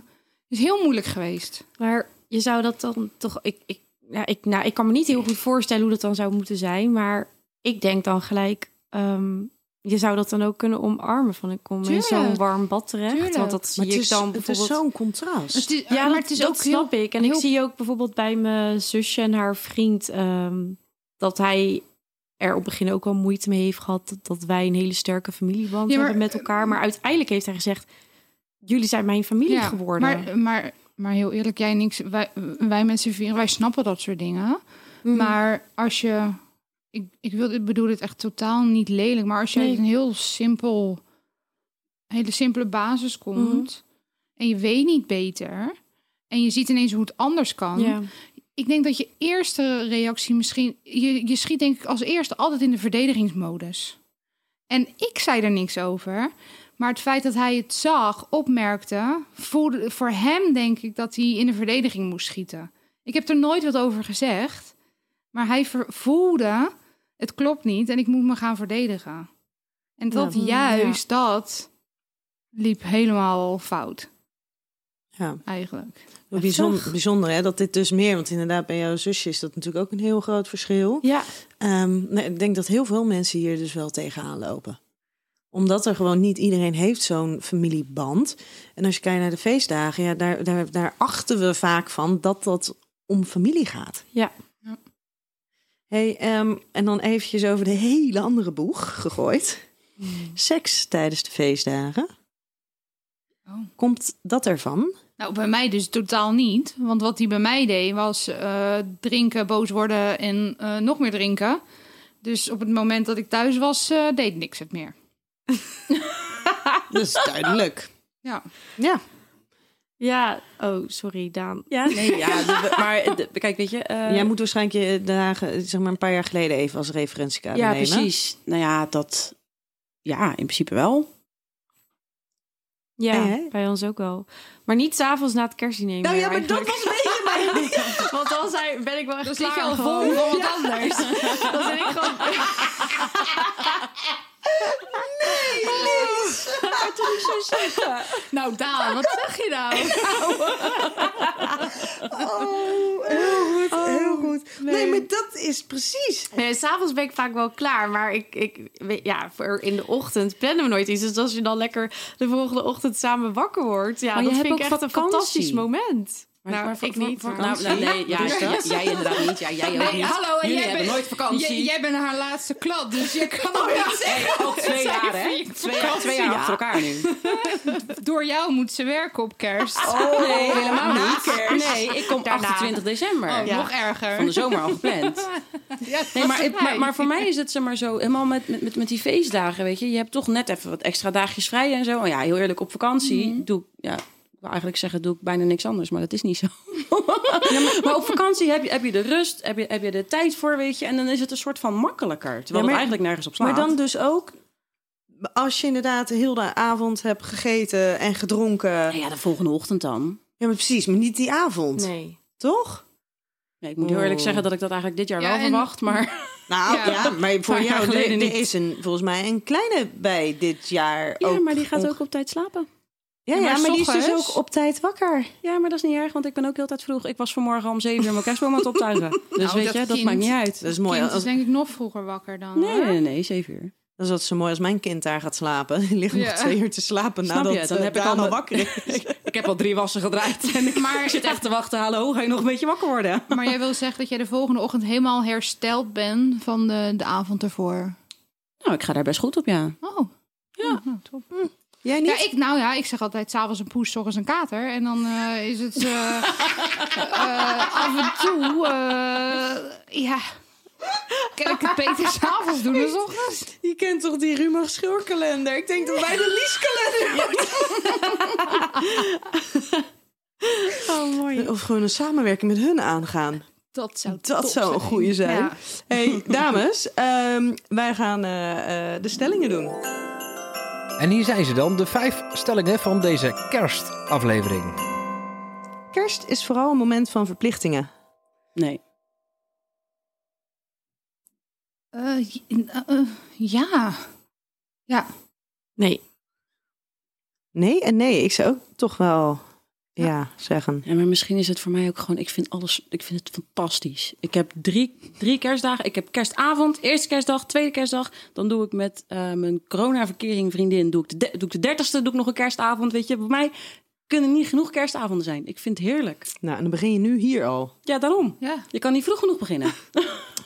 Speaker 3: is heel moeilijk geweest.
Speaker 7: Maar je zou dat dan toch. Ik, ik, ja, ik, nou, ik kan me niet heel goed voorstellen hoe dat dan zou moeten zijn. Maar ik denk dan gelijk. ehm, je zou dat dan ook kunnen omarmen. Van ik kom
Speaker 3: Tuurlijk.
Speaker 7: in zo'n warm bad terecht.
Speaker 3: Tuurlijk.
Speaker 7: Want dat zie
Speaker 1: Maar het
Speaker 7: ik
Speaker 1: is,
Speaker 7: dan
Speaker 1: het is
Speaker 7: bijvoorbeeld.
Speaker 1: zo'n contrast.
Speaker 3: Het is-
Speaker 7: Ja,
Speaker 3: maar
Speaker 7: dat,
Speaker 3: het is
Speaker 7: dat
Speaker 3: ook heel.
Speaker 7: snap ik. En ik
Speaker 3: heel-
Speaker 7: zie ook bijvoorbeeld bij mijn zusje en haar vriend ehm, dat hij er op het begin ook wel moeite mee heeft gehad dat, dat wij een hele sterke familieband
Speaker 3: Ja, maar-
Speaker 7: hebben met elkaar. Maar uiteindelijk heeft hij gezegd: jullie zijn mijn familie
Speaker 3: Ja,
Speaker 7: geworden.
Speaker 3: maar, maar, maar heel eerlijk, jij niks. Wij, wij met z'n vieren, wij snappen dat soort dingen.
Speaker 7: Mm.
Speaker 3: Maar als je. Ik, ik wil, ik bedoel dit echt totaal niet lelijk. Maar als je
Speaker 7: Nee.
Speaker 3: uit een heel simpel. hele simpele basis komt.
Speaker 7: Mhm.
Speaker 3: en je weet niet beter. en je ziet ineens hoe het anders kan.
Speaker 7: ja.
Speaker 3: ik denk dat je eerste reactie misschien. Je, je schiet denk ik als eerste altijd in de verdedigingsmodus. En ik zei er niks over. Maar het feit dat hij het zag, opmerkte, voelde voor hem denk ik dat hij in de verdediging moest schieten. Ik heb er nooit wat over gezegd. Maar hij ver- voelde, het klopt niet en ik moet me gaan verdedigen. En dat
Speaker 7: Ja.
Speaker 3: juist dat liep helemaal fout
Speaker 1: Ja.
Speaker 3: eigenlijk.
Speaker 1: Bijzonder, bijzonder hè, dat dit dus meer, want inderdaad bij jouw zusje is dat natuurlijk ook een heel groot verschil.
Speaker 7: ja,
Speaker 1: Ehm, nee, ik denk dat heel veel mensen hier dus wel tegenaan lopen. Omdat er gewoon niet iedereen heeft zo'n familieband. En als je kijkt naar de feestdagen, ja, daar, daar, daar achten we vaak van dat dat om familie gaat.
Speaker 7: Ja.
Speaker 3: Ja.
Speaker 1: Hey, ehm, en dan eventjes over de hele andere boeg gegooid.
Speaker 7: Hmm.
Speaker 1: Seks tijdens de feestdagen.
Speaker 3: Oh.
Speaker 1: Komt dat ervan?
Speaker 3: Nou, bij mij dus totaal niet. Want wat hij bij mij deed was eh, drinken, boos worden en eh, nog meer drinken. Dus op het moment dat ik thuis was, eh, deed niks het meer.
Speaker 1: Dat is duidelijk.
Speaker 3: Ja.
Speaker 1: Ja.
Speaker 7: ja. Oh, sorry, Daan.
Speaker 4: Ja, nee, ja. de- maar de- kijk, weet je... eh,
Speaker 1: Jij moet waarschijnlijk je dagen, zeg maar een paar jaar geleden even als referentiekader
Speaker 4: ja,
Speaker 1: nemen.
Speaker 4: precies. Nou ja, dat... Ja, in principe wel.
Speaker 7: Ja,
Speaker 1: Ja, hè?
Speaker 7: bij ons ook wel. Maar niet s'avonds na het kerstdiner.
Speaker 1: Nou
Speaker 7: meer
Speaker 1: ja, maar dat
Speaker 7: eigenlijk.
Speaker 1: was een beetje mijn
Speaker 7: Want dan zijn- ben ik wel echt
Speaker 3: Dan zit
Speaker 7: klaar.
Speaker 3: je al vol
Speaker 7: gewoon.
Speaker 3: voor wat anders.
Speaker 7: Dan ben ik gewoon...
Speaker 3: toen ik zo zeggen. Nou, Daan, wat zeg je nou?
Speaker 8: Oh, heel goed, heel goed. Nee.
Speaker 1: nee.
Speaker 8: maar dat is precies.
Speaker 1: Nee, Eh, s'avonds ben ik vaak wel klaar, maar ik, ik weet- ja, voor in de ochtend plannen we nooit iets. Dus als je dan lekker de volgende ochtend samen wakker wordt, ja,
Speaker 4: Maar je
Speaker 1: dat
Speaker 4: hebt
Speaker 1: vind ik echt
Speaker 4: ook
Speaker 1: een
Speaker 4: vakantie.
Speaker 1: fantastisch moment.
Speaker 4: Maar- maar-
Speaker 1: ik niet.
Speaker 4: Nou,
Speaker 1: maar-
Speaker 4: nou, nee, ja, ja, jij inderdaad niet. Ja, jij ook
Speaker 3: Nee,
Speaker 4: niet.
Speaker 3: hallo, en
Speaker 4: Jullie
Speaker 3: jij
Speaker 4: hebben
Speaker 3: bent-
Speaker 4: nooit vakantie.
Speaker 3: J- jij bent haar laatste klad, dus je kan het niet zeggen.
Speaker 4: Hey, al twee jaar, hè?
Speaker 3: vier
Speaker 4: Twee jaar, twee jaar achter elkaar nu.
Speaker 3: Door jou moet ze werken op kerst.
Speaker 4: Oh, nee, helemaal niet. Nee, ik kom
Speaker 1: Daarna.
Speaker 4: 28 december.
Speaker 3: Oh,
Speaker 4: Ja.
Speaker 3: Nog erger.
Speaker 4: Van de zomer al gepland. Nee, maar, ik- maar, maar voor mij is het zeg maar zo, helemaal met, met, met, met die feestdagen, weet je. Je hebt toch net even wat extra dagjes vrij en zo. Oh ja, heel eerlijk, op vakantie doe ik, ja, ik wil eigenlijk zeggen, doe ik bijna niks anders. Maar dat is niet zo. maar, op vakantie heb je, heb je de rust, heb je, heb je de tijd voor, weet je. En dan is het een soort van makkelijker. Terwijl
Speaker 2: maar-
Speaker 4: het eigenlijk nergens op slaat.
Speaker 2: Maar dan dus ook, als je inderdaad heel de avond hebt gegeten en gedronken.
Speaker 4: Nou ja, de volgende ochtend dan.
Speaker 2: Ja, maar precies, maar niet die avond,
Speaker 1: nee.
Speaker 2: toch?
Speaker 4: Nee, ik moet heel eerlijk zeggen dat ik dat eigenlijk dit jaar
Speaker 3: Ja,
Speaker 4: wel
Speaker 3: en-
Speaker 4: verwacht. Maar
Speaker 2: Nou ja,
Speaker 3: Ja.
Speaker 2: maar voor
Speaker 4: Paar jaar
Speaker 2: jou er,
Speaker 4: geleden
Speaker 2: er
Speaker 4: niet.
Speaker 2: is een, volgens mij een kleine bij dit jaar.
Speaker 4: ja,
Speaker 2: ook
Speaker 4: maar die gaat
Speaker 2: onge-
Speaker 4: ook op tijd slapen.
Speaker 2: Ja, ja,
Speaker 3: maar
Speaker 2: maar, die is dus
Speaker 3: s'ochtends-
Speaker 2: ook op tijd wakker.
Speaker 4: Ja, maar dat is niet erg, want ik ben ook heel tijd vroeg. Ik was vanmorgen om 7 uur mijn kerstboom aan het optuigen. Dus
Speaker 3: Nou,
Speaker 4: weet
Speaker 3: dat
Speaker 4: je, dat
Speaker 3: kind.
Speaker 4: maakt niet uit.
Speaker 2: Dat is mooi.
Speaker 3: Kind is
Speaker 2: Als,
Speaker 3: denk ik nog vroeger wakker dan.
Speaker 4: Nee,
Speaker 3: hoor.
Speaker 4: nee, nee, 7 uur.
Speaker 2: dat is wat zo mooi als mijn kind daar gaat slapen. Die ligt
Speaker 3: Ja.
Speaker 2: nog twee uur te slapen
Speaker 4: Snap
Speaker 2: nadat
Speaker 4: je? Dan
Speaker 2: eh,
Speaker 4: heb ik
Speaker 2: Daan
Speaker 4: al
Speaker 2: al
Speaker 4: de-
Speaker 2: wakker is.
Speaker 4: Ik heb al drie wassen gedraaid en ik, maar, zit echt te wachten. Hallo, ga je nog een beetje wakker worden?
Speaker 3: Maar jij wil zeggen dat jij de volgende ochtend helemaal hersteld bent van de, de avond ervoor.
Speaker 4: Nou, ik ga daar best goed op, ja.
Speaker 3: Oh. Ja, nou, top.
Speaker 2: Jij niet?
Speaker 3: Ja, ik, nou ja, ik zeg altijd s'avonds een poes, 's ochtends een kater. En dan eh, is het eh, eh, af en toe, eh, ja, kan ik het beter s'avonds doen dan 's ochtends.
Speaker 2: Je kent toch die Rumach scheurkalender? Ik denk dat wij de Lieskalender
Speaker 3: Oh, mooi.
Speaker 2: Of gewoon een samenwerking met hun aangaan.
Speaker 3: Dat zou
Speaker 2: Dat
Speaker 3: top
Speaker 2: zou een goeie zijn.
Speaker 3: Ja.
Speaker 2: Hey, dames, ehm, wij gaan eh, eh, de stellingen doen.
Speaker 6: En hier zijn ze dan, de vijf stellingen van deze kerstaflevering.
Speaker 2: Kerst is vooral een moment van verplichtingen.
Speaker 4: Nee.
Speaker 3: Eh, j- eh, eh, ja. Ja.
Speaker 1: Nee.
Speaker 2: Nee en nee, ik zou ook toch wel ja, zeggen.
Speaker 4: Ja, maar misschien is het voor mij ook gewoon, ik vind alles, ik vind het fantastisch. Ik heb drie, drie kerstdagen. Ik heb kerstavond, eerste kerstdag, tweede kerstdag. Dan doe ik met eh, mijn corona-verkering vriendin, doe ik, de, de- doe ik de dertigste, doe ik nog een kerstavond. Weet je, bij mij kunnen niet genoeg kerstavonden zijn. Ik vind het heerlijk.
Speaker 2: Nou, en dan begin je nu hier al.
Speaker 4: Ja, daarom.
Speaker 3: Ja.
Speaker 4: Je kan niet vroeg genoeg beginnen.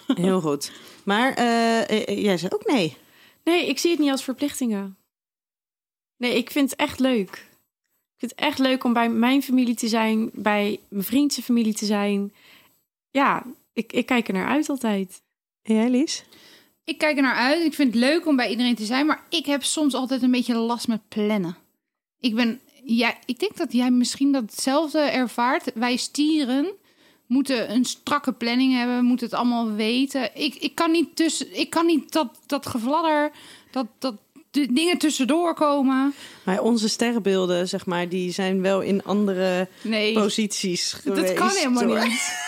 Speaker 2: Heel goed. Maar eh, eh, eh, jij zei ook nee.
Speaker 1: Nee, ik zie het niet als verplichtingen. Nee, ik vind het echt leuk. Ik vind het echt leuk om bij mijn familie te zijn, bij mijn vriendse familie te zijn. Ja, ik, ik kijk er naar uit altijd.
Speaker 2: En jij, Lies?
Speaker 3: Ik kijk er naar uit. Ik vind het leuk om bij iedereen te zijn, maar ik heb soms altijd een beetje last met plannen. Ik ben, ja, ik denk dat jij misschien datzelfde ervaart. Wij stieren moeten een strakke planning hebben, moeten het allemaal weten. Ik, ik kan niet tussen, ik kan niet dat dat gevladder, dat dat de dingen tussendoor komen.
Speaker 2: Maar onze sterrenbeelden, zeg maar, die zijn wel in andere
Speaker 3: Nee,
Speaker 2: posities
Speaker 3: dat
Speaker 2: geweest.
Speaker 3: kan helemaal
Speaker 2: hoor.
Speaker 3: niet.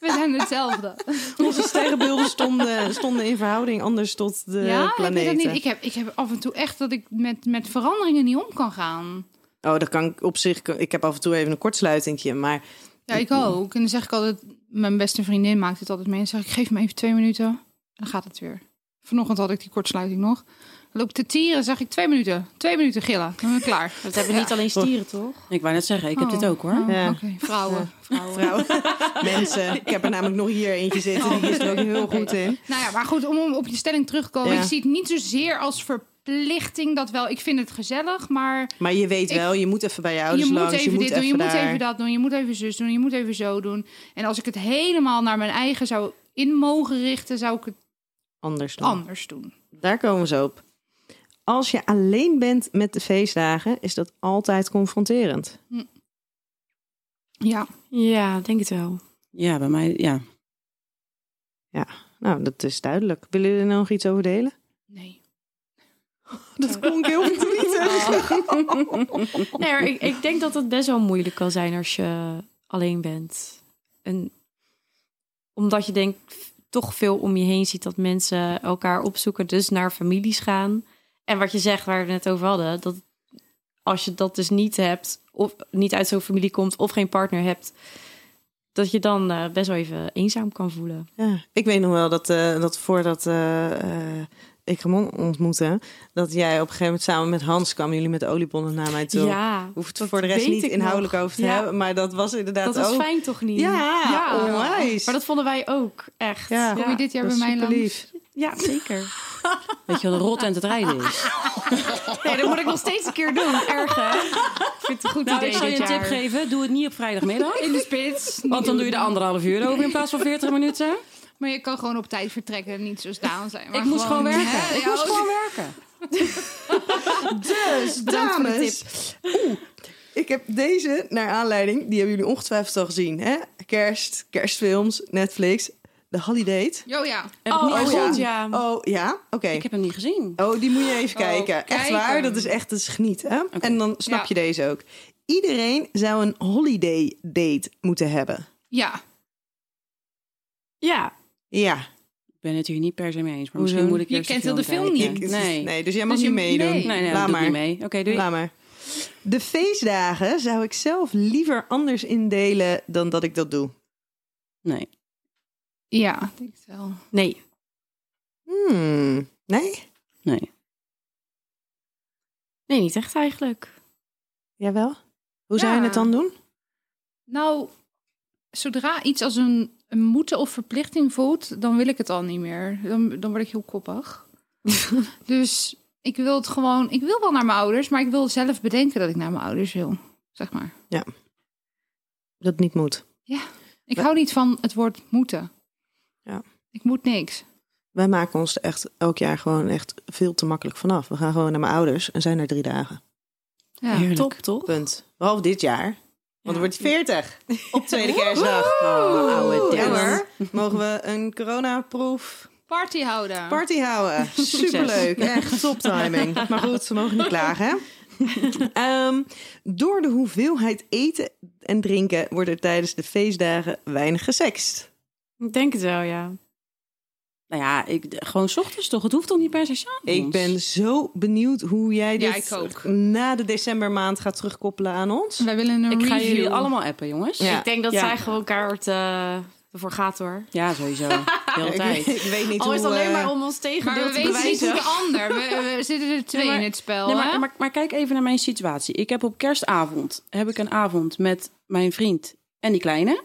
Speaker 3: We zijn hetzelfde.
Speaker 2: Onze sterrenbeelden stonden, stonden in verhouding anders tot de
Speaker 3: ja, ik weet
Speaker 2: planeten.
Speaker 3: dat niet. Ik heb, ik heb af en toe echt dat ik met, met veranderingen niet om kan gaan.
Speaker 2: Oh, dat kan ik op zich. Ik heb af en toe even een kortsluitingje, maar
Speaker 3: Ja, ik ook. En dan zeg ik altijd, mijn beste vriendin maakt het altijd mee. En dan zeg ik, geef me even twee minuten. En dan gaat het weer. Vanochtend had ik die kortsluiting nog. Dan loop ik te tieren, zeg ik twee minuten. Twee minuten gillen. Dan ben ik klaar.
Speaker 1: Dat hebben niet alleen stieren, toch?
Speaker 4: Ik wou net zeggen, ik heb
Speaker 3: Oh.
Speaker 4: dit ook hoor.
Speaker 3: Oh,
Speaker 2: Ja.
Speaker 3: Oké, vrouwen. vrouwen.
Speaker 2: vrouwen, mensen. Ik heb er namelijk nog hier eentje zitten. Die is er ook heel goed in.
Speaker 3: Nou ja, maar goed, om- om op je stelling terug te komen.
Speaker 2: Ja.
Speaker 3: Ik zie het niet zozeer als verplichting. Dat wel, ik vind het gezellig, maar...
Speaker 2: Maar je weet
Speaker 3: Ik-
Speaker 2: wel, je moet even bij je ouders
Speaker 3: je moet
Speaker 2: langs.
Speaker 3: even
Speaker 2: je moet
Speaker 3: dit
Speaker 2: even
Speaker 3: doen, je
Speaker 2: daar.
Speaker 3: moet even dat doen, je moet even zus doen, je moet even zo doen. En als ik het helemaal naar mijn eigen zou in mogen richten, zou ik het
Speaker 2: Anders dan.
Speaker 3: anders doen.
Speaker 2: Daar komen ze op. Als je alleen bent met de feestdagen, is dat altijd confronterend.
Speaker 3: Ja,
Speaker 1: Ja, denk het wel.
Speaker 4: Ja, bij mij, ja.
Speaker 2: Nou, dat is duidelijk. Willen jullie er nog iets over delen?
Speaker 3: nee.
Speaker 2: Dat klonk heel verdrietig.
Speaker 1: Nee, maar ik, ik denk dat het best wel moeilijk kan zijn als je alleen bent. En omdat je denk ik toch veel om je heen ziet dat mensen elkaar opzoeken, dus naar families gaan. En wat je zegt, waar we het net over hadden, dat
Speaker 7: als je dat dus niet hebt, of niet uit zo'n familie komt, of geen partner hebt, dat je dan eh, best wel even eenzaam kan voelen.
Speaker 1: Ja, ik weet nog wel dat, eh, dat voordat eh, eh, ik Ramon ontmoette, dat jij op een gegeven moment samen met Hans kwamen jullie met oliebollen naar mij toe.
Speaker 7: Ja,
Speaker 1: Hoeft het
Speaker 7: dat
Speaker 1: voor de rest
Speaker 7: weet
Speaker 1: niet
Speaker 7: ik
Speaker 1: inhoudelijk
Speaker 7: nog.
Speaker 1: over te
Speaker 7: Ja.
Speaker 1: hebben, maar dat was
Speaker 7: dat
Speaker 1: inderdaad
Speaker 7: was
Speaker 1: ook.
Speaker 7: fijn toch niet?
Speaker 1: Ja, onwijs.
Speaker 7: Maar dat vonden wij ook, echt.
Speaker 1: Ja.
Speaker 3: Kom je dit jaar
Speaker 1: Dat
Speaker 3: bij
Speaker 1: is
Speaker 3: mij langs?
Speaker 1: superlief.
Speaker 7: Ja, zeker.
Speaker 4: Weet je wat een rot en het rijden is?
Speaker 7: Nee, dat moet ik nog steeds een keer doen. Erg, hè? Ik vind het een goed
Speaker 4: Nou,
Speaker 7: idee
Speaker 4: ik zal je een
Speaker 7: dit
Speaker 4: tip
Speaker 7: jaar.
Speaker 4: geven. Doe het niet op vrijdagmiddag.
Speaker 3: In de spits.
Speaker 4: Want dan doe je er anderhalf uur over in plaats van 40 minuten.
Speaker 3: Maar je kan gewoon op tijd vertrekken en niet zo staan zijn. Maar
Speaker 4: ik moest gewoon werken.
Speaker 3: hè,
Speaker 4: ik
Speaker 3: ja, oh,
Speaker 4: moest
Speaker 7: oh.
Speaker 4: gewoon werken.
Speaker 2: Dus, dames. Oeh, ik heb deze naar aanleiding, die hebben jullie ongetwijfeld al gezien. Hè? Kerst, kerstfilms, Netflix, The Holiday.
Speaker 3: Jo, ja.
Speaker 7: Oh,
Speaker 2: Oh,
Speaker 7: oh,
Speaker 2: ja.
Speaker 7: goed, ja.
Speaker 2: Oh ja, oké.
Speaker 4: Ik heb hem niet gezien.
Speaker 2: Oh, die moet je even
Speaker 3: Oh,
Speaker 2: kijken. Echt
Speaker 3: kijken.
Speaker 2: waar, dat is echt dat is genieten. hè? En dan snap
Speaker 3: Ja.
Speaker 2: je deze ook. Iedereen zou een holiday date moeten hebben.
Speaker 3: Ja.
Speaker 7: Ja,
Speaker 2: Ja.
Speaker 4: Ik ben het hier niet per se mee eens. Maar
Speaker 2: Hoezo?
Speaker 4: misschien moet ik
Speaker 3: Je
Speaker 4: eerst
Speaker 3: kent heel de film
Speaker 4: kijken. Nee.
Speaker 3: niet.
Speaker 4: nee.
Speaker 2: Nee, dus jij mag
Speaker 3: Dus je-
Speaker 2: niet meedoen.
Speaker 3: nee.
Speaker 4: Nee, nee, dat doe
Speaker 2: Laat
Speaker 4: ik
Speaker 2: maar.
Speaker 4: niet mee. Oké, doei.
Speaker 2: Laat maar. De feestdagen zou ik zelf liever anders indelen dan dat ik dat doe.
Speaker 4: Nee.
Speaker 3: Ja, ik denk het wel.
Speaker 7: nee.
Speaker 2: Hmm. Nee?
Speaker 4: Nee.
Speaker 7: Nee, niet echt eigenlijk.
Speaker 2: Jawel. Hoe zou je
Speaker 3: Ja.
Speaker 2: het dan doen?
Speaker 3: Nou, zodra iets als een, een moeten of verplichting voelt, dan wil ik het al niet meer. Dan, dan word ik heel koppig. dus ik wil het gewoon, ik wil wel naar mijn ouders, maar ik wil zelf bedenken dat ik naar mijn ouders wil. Zeg maar.
Speaker 2: Dat niet moet.
Speaker 3: Ik
Speaker 2: Wa-
Speaker 3: hou niet van het woord moeten.
Speaker 2: Ja.
Speaker 3: Ik moet niks.
Speaker 2: Wij maken ons er echt elk jaar gewoon echt veel te makkelijk vanaf. We gaan gewoon naar mijn ouders en zijn er drie dagen.
Speaker 3: Ja.
Speaker 4: Heerlijk.
Speaker 7: Top, toch?
Speaker 2: Punt. Behalve dit jaar. Want dan wordt je 40 op tweede kerstdag.
Speaker 4: Oh, ouwe
Speaker 2: Ja
Speaker 4: dit.
Speaker 2: hoor. Mogen we een coronaproof
Speaker 3: Party houden.
Speaker 2: party houden? Superleuk. Ah. Echt top timing. Maar goed, ze mogen niet klagen hè? Ehm, door de hoeveelheid eten en drinken wordt er tijdens de feestdagen weinig gesext.
Speaker 7: Ik denk het wel, ja.
Speaker 4: Nou ja, ik, gewoon 's ochtends toch? Het hoeft toch niet per se s'avonds?
Speaker 2: Ik ben zo benieuwd hoe jij
Speaker 3: Ja,
Speaker 2: dit
Speaker 3: ik ook.
Speaker 2: na de decembermaand gaat terugkoppelen aan ons.
Speaker 3: Wij willen een
Speaker 4: Ik ga
Speaker 3: review.
Speaker 4: jullie allemaal appen, jongens.
Speaker 2: Ja.
Speaker 4: Ja,
Speaker 7: Ik denk dat
Speaker 4: Ja.
Speaker 7: zij gewoon elkaar eh, ervoor gaat, hoor.
Speaker 4: sowieso. De hele
Speaker 2: Ik,
Speaker 4: tijd.
Speaker 2: ik weet niet
Speaker 7: Al Oh,
Speaker 2: hoe...
Speaker 7: is het alleen
Speaker 2: eh,
Speaker 7: maar om ons
Speaker 3: Maar
Speaker 7: tegendeel
Speaker 3: we
Speaker 7: te
Speaker 3: weten niet
Speaker 7: bewijzen.
Speaker 3: hoe de ander. We, we zitten er twee
Speaker 4: Nee, maar-
Speaker 3: in het spel.
Speaker 4: Nee,
Speaker 3: hè?
Speaker 4: maar, maar, maar kijk even naar mijn situatie. Ik heb op kerstavond heb ik een avond met mijn vriend en die kleine.